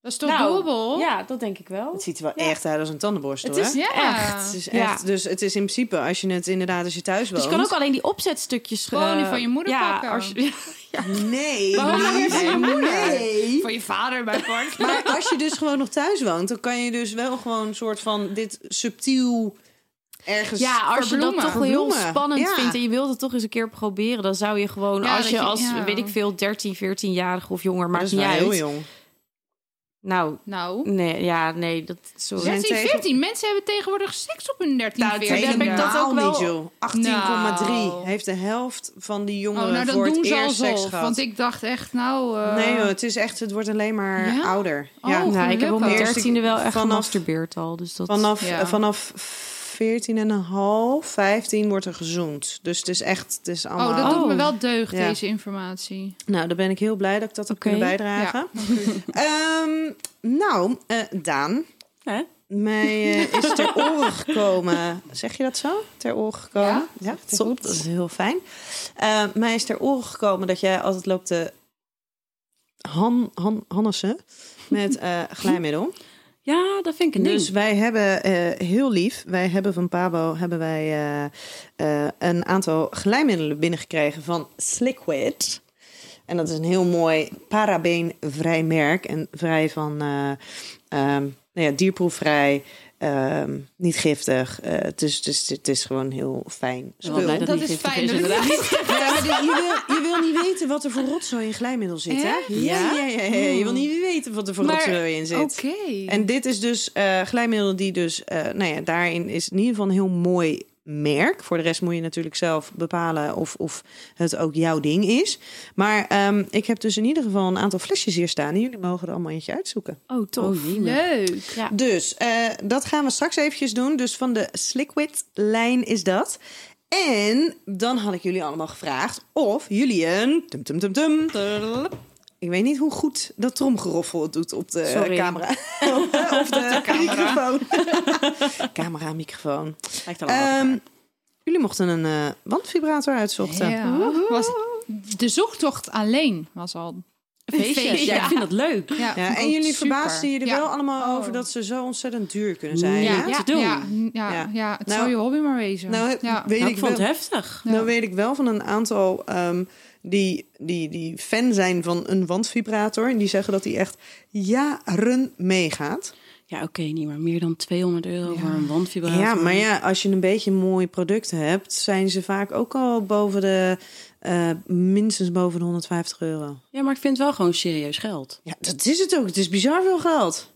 Speaker 3: Dat is toch
Speaker 7: Nou,
Speaker 3: doable?
Speaker 7: Ja, dat denk ik wel.
Speaker 2: Het ziet er wel echt uit als een tandenborstel,
Speaker 7: Het is
Speaker 2: hè?
Speaker 3: Ja.
Speaker 7: echt.
Speaker 2: Het is echt,
Speaker 7: Ja.
Speaker 2: Dus het is in principe, als je het inderdaad als je thuis woont...
Speaker 7: Dus je kan ook alleen die opzetstukjes
Speaker 3: Gewoon
Speaker 7: eh,
Speaker 3: die van je moeder
Speaker 7: ja,
Speaker 3: pakken.
Speaker 7: Als je,
Speaker 2: Nee,
Speaker 3: Waarom
Speaker 2: nee,
Speaker 3: is het je moeder?
Speaker 2: nee.
Speaker 3: Van je vader bijvoorbeeld.
Speaker 2: Maar als je dus gewoon nog thuis woont, dan kan je dus wel gewoon een soort van dit subtiel ergens...
Speaker 7: Ja, als je dat
Speaker 3: verbloemen.
Speaker 7: toch heel
Speaker 2: Verbloemen.
Speaker 7: spannend
Speaker 2: Ja.
Speaker 7: vindt en je wilt het toch eens een keer proberen, dan zou je gewoon,
Speaker 3: Ja,
Speaker 7: als
Speaker 3: dat
Speaker 7: je
Speaker 3: je-
Speaker 7: als,
Speaker 3: ja.
Speaker 7: weet ik veel, 13, 14-jarige of jonger,
Speaker 2: Maar
Speaker 7: maakt
Speaker 2: dat is
Speaker 7: niet
Speaker 2: wel heel
Speaker 7: uit.
Speaker 2: jong.
Speaker 7: Nou,
Speaker 3: Nou,
Speaker 7: nee, ja, nee, dat sorry.
Speaker 2: Zijn
Speaker 3: 13,
Speaker 2: tegen-
Speaker 3: 14. Mensen hebben tegenwoordig seks op hun 13,
Speaker 2: Nou,
Speaker 3: 14.
Speaker 7: heb ik dat
Speaker 2: helemaal
Speaker 7: ook wel-
Speaker 2: niet, joh. 18,3
Speaker 3: Nou.
Speaker 2: heeft de helft van die
Speaker 3: Oh,
Speaker 2: jongeren
Speaker 3: nou, dat
Speaker 2: voor
Speaker 3: doen
Speaker 2: het
Speaker 3: ze
Speaker 2: eerst seks
Speaker 3: alsof.
Speaker 2: gehad.
Speaker 3: Want ik dacht echt, nou... eh,
Speaker 2: Nee, joh, het is echt, het wordt alleen maar
Speaker 3: Ja?
Speaker 2: ouder.
Speaker 3: Oh,
Speaker 2: ja.
Speaker 3: goed.
Speaker 7: Nou, ik heb op mijn
Speaker 2: gelukkig.
Speaker 7: dertiende wel echt
Speaker 2: Vanaf-
Speaker 7: gemasturbeerd al, dus dat.
Speaker 2: Vanaf,
Speaker 3: Ja.
Speaker 2: eh, vanaf 14 en een half, 15 wordt er gezoend. Dus het is echt, het is allemaal...
Speaker 3: Oh, dat doet
Speaker 7: Oh.
Speaker 3: me wel deugd,
Speaker 2: Ja.
Speaker 3: deze informatie.
Speaker 2: Nou, dan ben ik heel blij dat ik dat heb
Speaker 7: Oké.
Speaker 2: kunnen bijdragen. Ehm, nou, eh, Daan,
Speaker 4: Hè?
Speaker 2: mij eh, is ter oren gekomen. Zeg je dat zo? Ter oren gekomen? Ja,
Speaker 3: Ja,
Speaker 2: dat, klopt. dat is heel fijn. Eh, mij is ter oren gekomen dat jij altijd loopt te han, han, hannessen met eh, glijmiddel.
Speaker 4: Ja, dat vind ik een ding.
Speaker 2: Dus wij hebben eh, heel lief, wij hebben van Pabo hebben wij, eh, eh, een aantal glijmiddelen binnengekregen van Sliquid. En dat is een heel mooi parabeenvrij merk. En vrij van eh, ehm, nou ja, dierproefvrij, ehm, niet giftig. Eh, het, is, het, is, het is gewoon heel fijn
Speaker 4: Wel
Speaker 2: spul.
Speaker 4: blij
Speaker 3: Dat
Speaker 4: niet
Speaker 3: is
Speaker 4: giftig
Speaker 3: fijn, dat het
Speaker 4: inderdaad.
Speaker 2: Ja, maar dit- je, wil, je wil niet weten wat er voor rotzooi in glijmiddel zit, hè? Ja, ja, ja, ja. Je wil niet weten wat er voor
Speaker 3: Maar-
Speaker 2: rotzooi in zit.
Speaker 3: Oké.
Speaker 2: En dit is dus eh glijmiddel die dus, eh, nou ja, daarin is in ieder geval een heel mooi merk. Voor de rest moet je natuurlijk zelf bepalen of, of het ook jouw ding is. Maar ehm, ik heb dus in ieder geval een aantal flesjes hier staan. En jullie mogen er allemaal eentje uitzoeken.
Speaker 7: Oh, tof.
Speaker 3: Leuk.
Speaker 2: Dus eh, dat gaan we straks eventjes doen. Dus van de Sliquid lijn is dat. En dan had ik jullie allemaal gevraagd of jullie een... Tum, tum, tum, tum. Ik weet niet hoe goed dat tromgeroffel het doet op de eh,
Speaker 7: Sorry.
Speaker 2: camera. of de, microfoon. camera,
Speaker 3: Oh,
Speaker 2: microfoon.
Speaker 4: Lijkt wel een
Speaker 2: Ehm, jullie mochten een eh, wandvibrator uitzochten.
Speaker 3: Ja. Was, de zoektocht alleen was al...
Speaker 4: feestje. Ja, ik vind dat leuk.
Speaker 3: Ja,
Speaker 2: Ja,
Speaker 3: vond ik
Speaker 2: en jullie
Speaker 3: super.
Speaker 2: verbaasden je er
Speaker 3: Ja.
Speaker 2: wel allemaal
Speaker 3: Oh.
Speaker 2: over dat ze zo ontzettend duur kunnen zijn.
Speaker 4: Ja.
Speaker 2: hè?
Speaker 4: te doen.
Speaker 3: Ja, ja,
Speaker 2: Ja.
Speaker 3: ja. het
Speaker 2: Nou,
Speaker 3: zou je hobby maar wezen.
Speaker 2: Nou,
Speaker 3: ja.
Speaker 2: weet
Speaker 4: Nou,
Speaker 2: ik
Speaker 4: ik
Speaker 2: wel.
Speaker 4: vond het heftig.
Speaker 3: Ja.
Speaker 2: Nou weet ik wel van een aantal ehm, die, die, die fan zijn van een wandvibrator. En die zeggen dat die echt jaren meegaat.
Speaker 4: Ja, oké, niet maar meer dan 200 euro voor een wandvibrator.
Speaker 2: Ja, maar ja, als je een beetje mooie producten hebt... zijn ze vaak ook al boven de... eh, minstens boven de 150 euro.
Speaker 4: Ja, maar ik vind het wel gewoon serieus geld.
Speaker 2: Ja, dat is het ook. Het is bizar veel geld.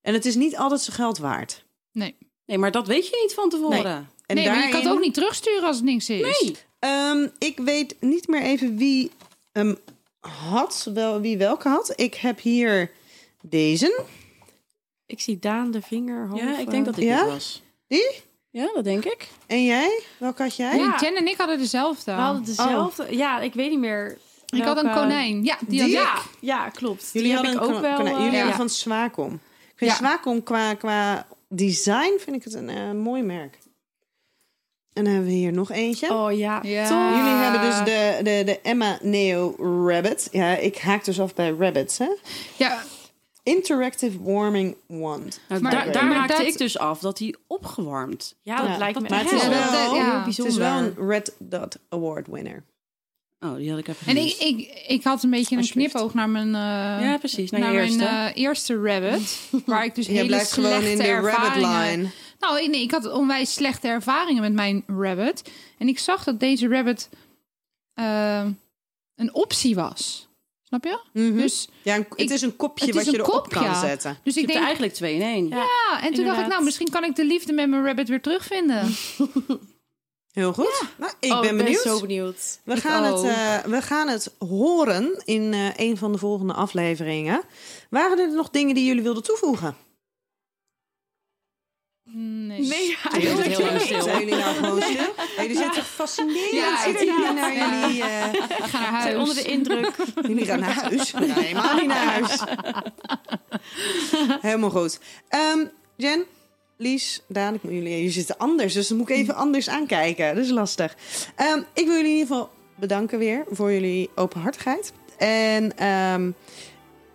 Speaker 2: En het is niet altijd zijn geld waard.
Speaker 3: Nee.
Speaker 4: Nee, maar dat weet je niet van tevoren.
Speaker 2: En
Speaker 3: nee, maar je kan
Speaker 2: daarin-
Speaker 3: het ook niet terugsturen als het niks is.
Speaker 2: Nee. Ehm, ik weet niet meer even wie hem had, wel, wie welke had. Ik heb hier deze.
Speaker 1: Ik zie Daan de vinger. Half,
Speaker 4: Ja, ik denk dat ik
Speaker 2: Ja?
Speaker 4: dit was.
Speaker 2: Die?
Speaker 4: Ja, dat denk ik.
Speaker 2: En jij? Welke had jij?
Speaker 3: Nee, Jen en ik hadden dezelfde.
Speaker 1: We hadden dezelfde. Ja, ik weet niet meer.
Speaker 3: ik had een
Speaker 1: welke-
Speaker 3: konijn. Ja, die,
Speaker 2: Die?
Speaker 3: had
Speaker 1: Ja,
Speaker 3: ik.
Speaker 1: ja, klopt.
Speaker 2: Jullie
Speaker 1: Die
Speaker 2: hadden
Speaker 1: heb ik
Speaker 2: een
Speaker 1: ook
Speaker 2: kno-
Speaker 1: wel.
Speaker 2: kno-
Speaker 1: eh,
Speaker 2: Jullie
Speaker 1: ja.
Speaker 2: hadden van Swacom. Ik vind
Speaker 3: Ja.
Speaker 2: Swacom qua, qua design vind ik het een eh, mooi merk. En dan hebben we hier nog eentje.
Speaker 1: Oh ja.
Speaker 3: Ja.
Speaker 1: Toch?
Speaker 2: Jullie hebben dus de, de, de Emma Neo Rabbit. Ja, ik haak dus af bij rabbits, hè?
Speaker 3: Ja,
Speaker 2: Interactive Warming Wand.
Speaker 4: Nou,
Speaker 3: Maar-
Speaker 4: daar daar
Speaker 3: maar
Speaker 4: raakte
Speaker 3: dat-
Speaker 4: ik dus af dat hij opgewarmd.
Speaker 1: Ja, dat
Speaker 2: Ja.
Speaker 1: lijkt me
Speaker 2: Maar
Speaker 1: echt
Speaker 2: het is
Speaker 1: wel
Speaker 2: wel-
Speaker 3: dat- ja.
Speaker 1: heel
Speaker 2: Het
Speaker 1: bijzonder.
Speaker 2: is wel een Red Dot Award winner.
Speaker 4: Oh, die had ik even
Speaker 3: en ik,
Speaker 4: gemist.
Speaker 3: ik, ik had een beetje een
Speaker 4: Alsjeblieft.
Speaker 3: knipoog naar mijn, eh,
Speaker 4: Ja, precies. Naar,
Speaker 3: naar
Speaker 4: je eerste.
Speaker 3: mijn eh, eerste rabbit. Waar ik dus
Speaker 2: Je
Speaker 3: hele
Speaker 2: blijft gewoon
Speaker 3: slechte
Speaker 2: in de rabbit
Speaker 3: ervaringen-
Speaker 2: line.
Speaker 3: Nou, ik- nee, ik had onwijs slechte ervaringen met mijn rabbit. En ik zag dat deze rabbit eh, een optie was. Snap je?
Speaker 2: Mhm.
Speaker 3: Dus,
Speaker 2: ja, een- het
Speaker 3: ik-
Speaker 2: is een kopje
Speaker 3: het
Speaker 2: wat
Speaker 3: is
Speaker 2: je
Speaker 3: een
Speaker 2: erop
Speaker 3: kop,
Speaker 2: kan
Speaker 3: ja.
Speaker 2: zetten.
Speaker 3: dus
Speaker 4: Je hebt
Speaker 3: ik denk,
Speaker 4: er eigenlijk twee in één.
Speaker 1: Ja.
Speaker 3: ja, en toen dacht ik,
Speaker 1: inderdaad.
Speaker 3: nou, misschien kan ik de liefde met mijn rabbit weer terugvinden.
Speaker 2: Heel goed. Nou, ik
Speaker 1: Oh,
Speaker 2: ben benieuwd.
Speaker 1: zo benieuwd.
Speaker 2: We
Speaker 3: Ik
Speaker 2: gaan, het,
Speaker 3: ook.
Speaker 2: eh, we gaan het horen in eh, een van de volgende afleveringen. Waren er nog dingen die jullie wilden toevoegen?
Speaker 3: Nee.
Speaker 1: Nee,
Speaker 4: heel
Speaker 1: eigenlijk
Speaker 4: lang
Speaker 1: niet.
Speaker 4: stil.
Speaker 2: Zijn jullie nou gewoon stil? Jullie zitten fascinerend
Speaker 3: Ja,
Speaker 2: zitten jullie naar
Speaker 3: inderdaad.
Speaker 2: jullie... eh,
Speaker 3: Ik ga naar
Speaker 1: We zijn
Speaker 3: huis.
Speaker 1: onder de indruk.
Speaker 2: Jullie gaan naar huis. Nee, helemaal niet naar huis. Helemaal goed. Ehm, Jen, Lies, Daan, ik moet jullie, jullie zitten anders. Dus dan moet ik even anders aankijken. Dat is lastig. Ehm, ik wil jullie in ieder geval bedanken weer voor jullie openhartigheid. En ehm,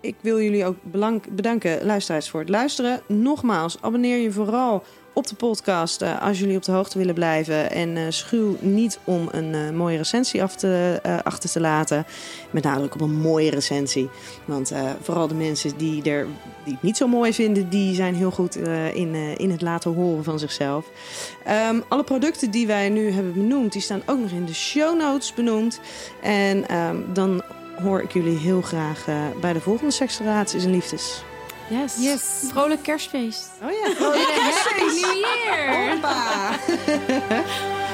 Speaker 2: ik wil jullie ook belank- bedanken, luisteraars, voor het luisteren. Nogmaals, abonneer je vooral op de podcast eh, als jullie op de hoogte willen blijven. En eh, schuw niet om een eh, mooie recensie af te, eh, achter te laten. Met nadruk op een mooie recensie. Want eh, vooral de mensen die, er, die het niet zo mooi vinden, die zijn heel goed eh, in, eh, in het laten horen van zichzelf. Ehm, alle producten die wij nu hebben benoemd, die staan ook nog in de show notes benoemd. En ehm, dan hoor ik jullie heel graag eh, bij de volgende Seksrelaties en Liefdes.
Speaker 1: Yes. yes. Vrolijk kerstfeest.
Speaker 2: Oh ja.
Speaker 3: Happy New Year!
Speaker 2: Hoppa.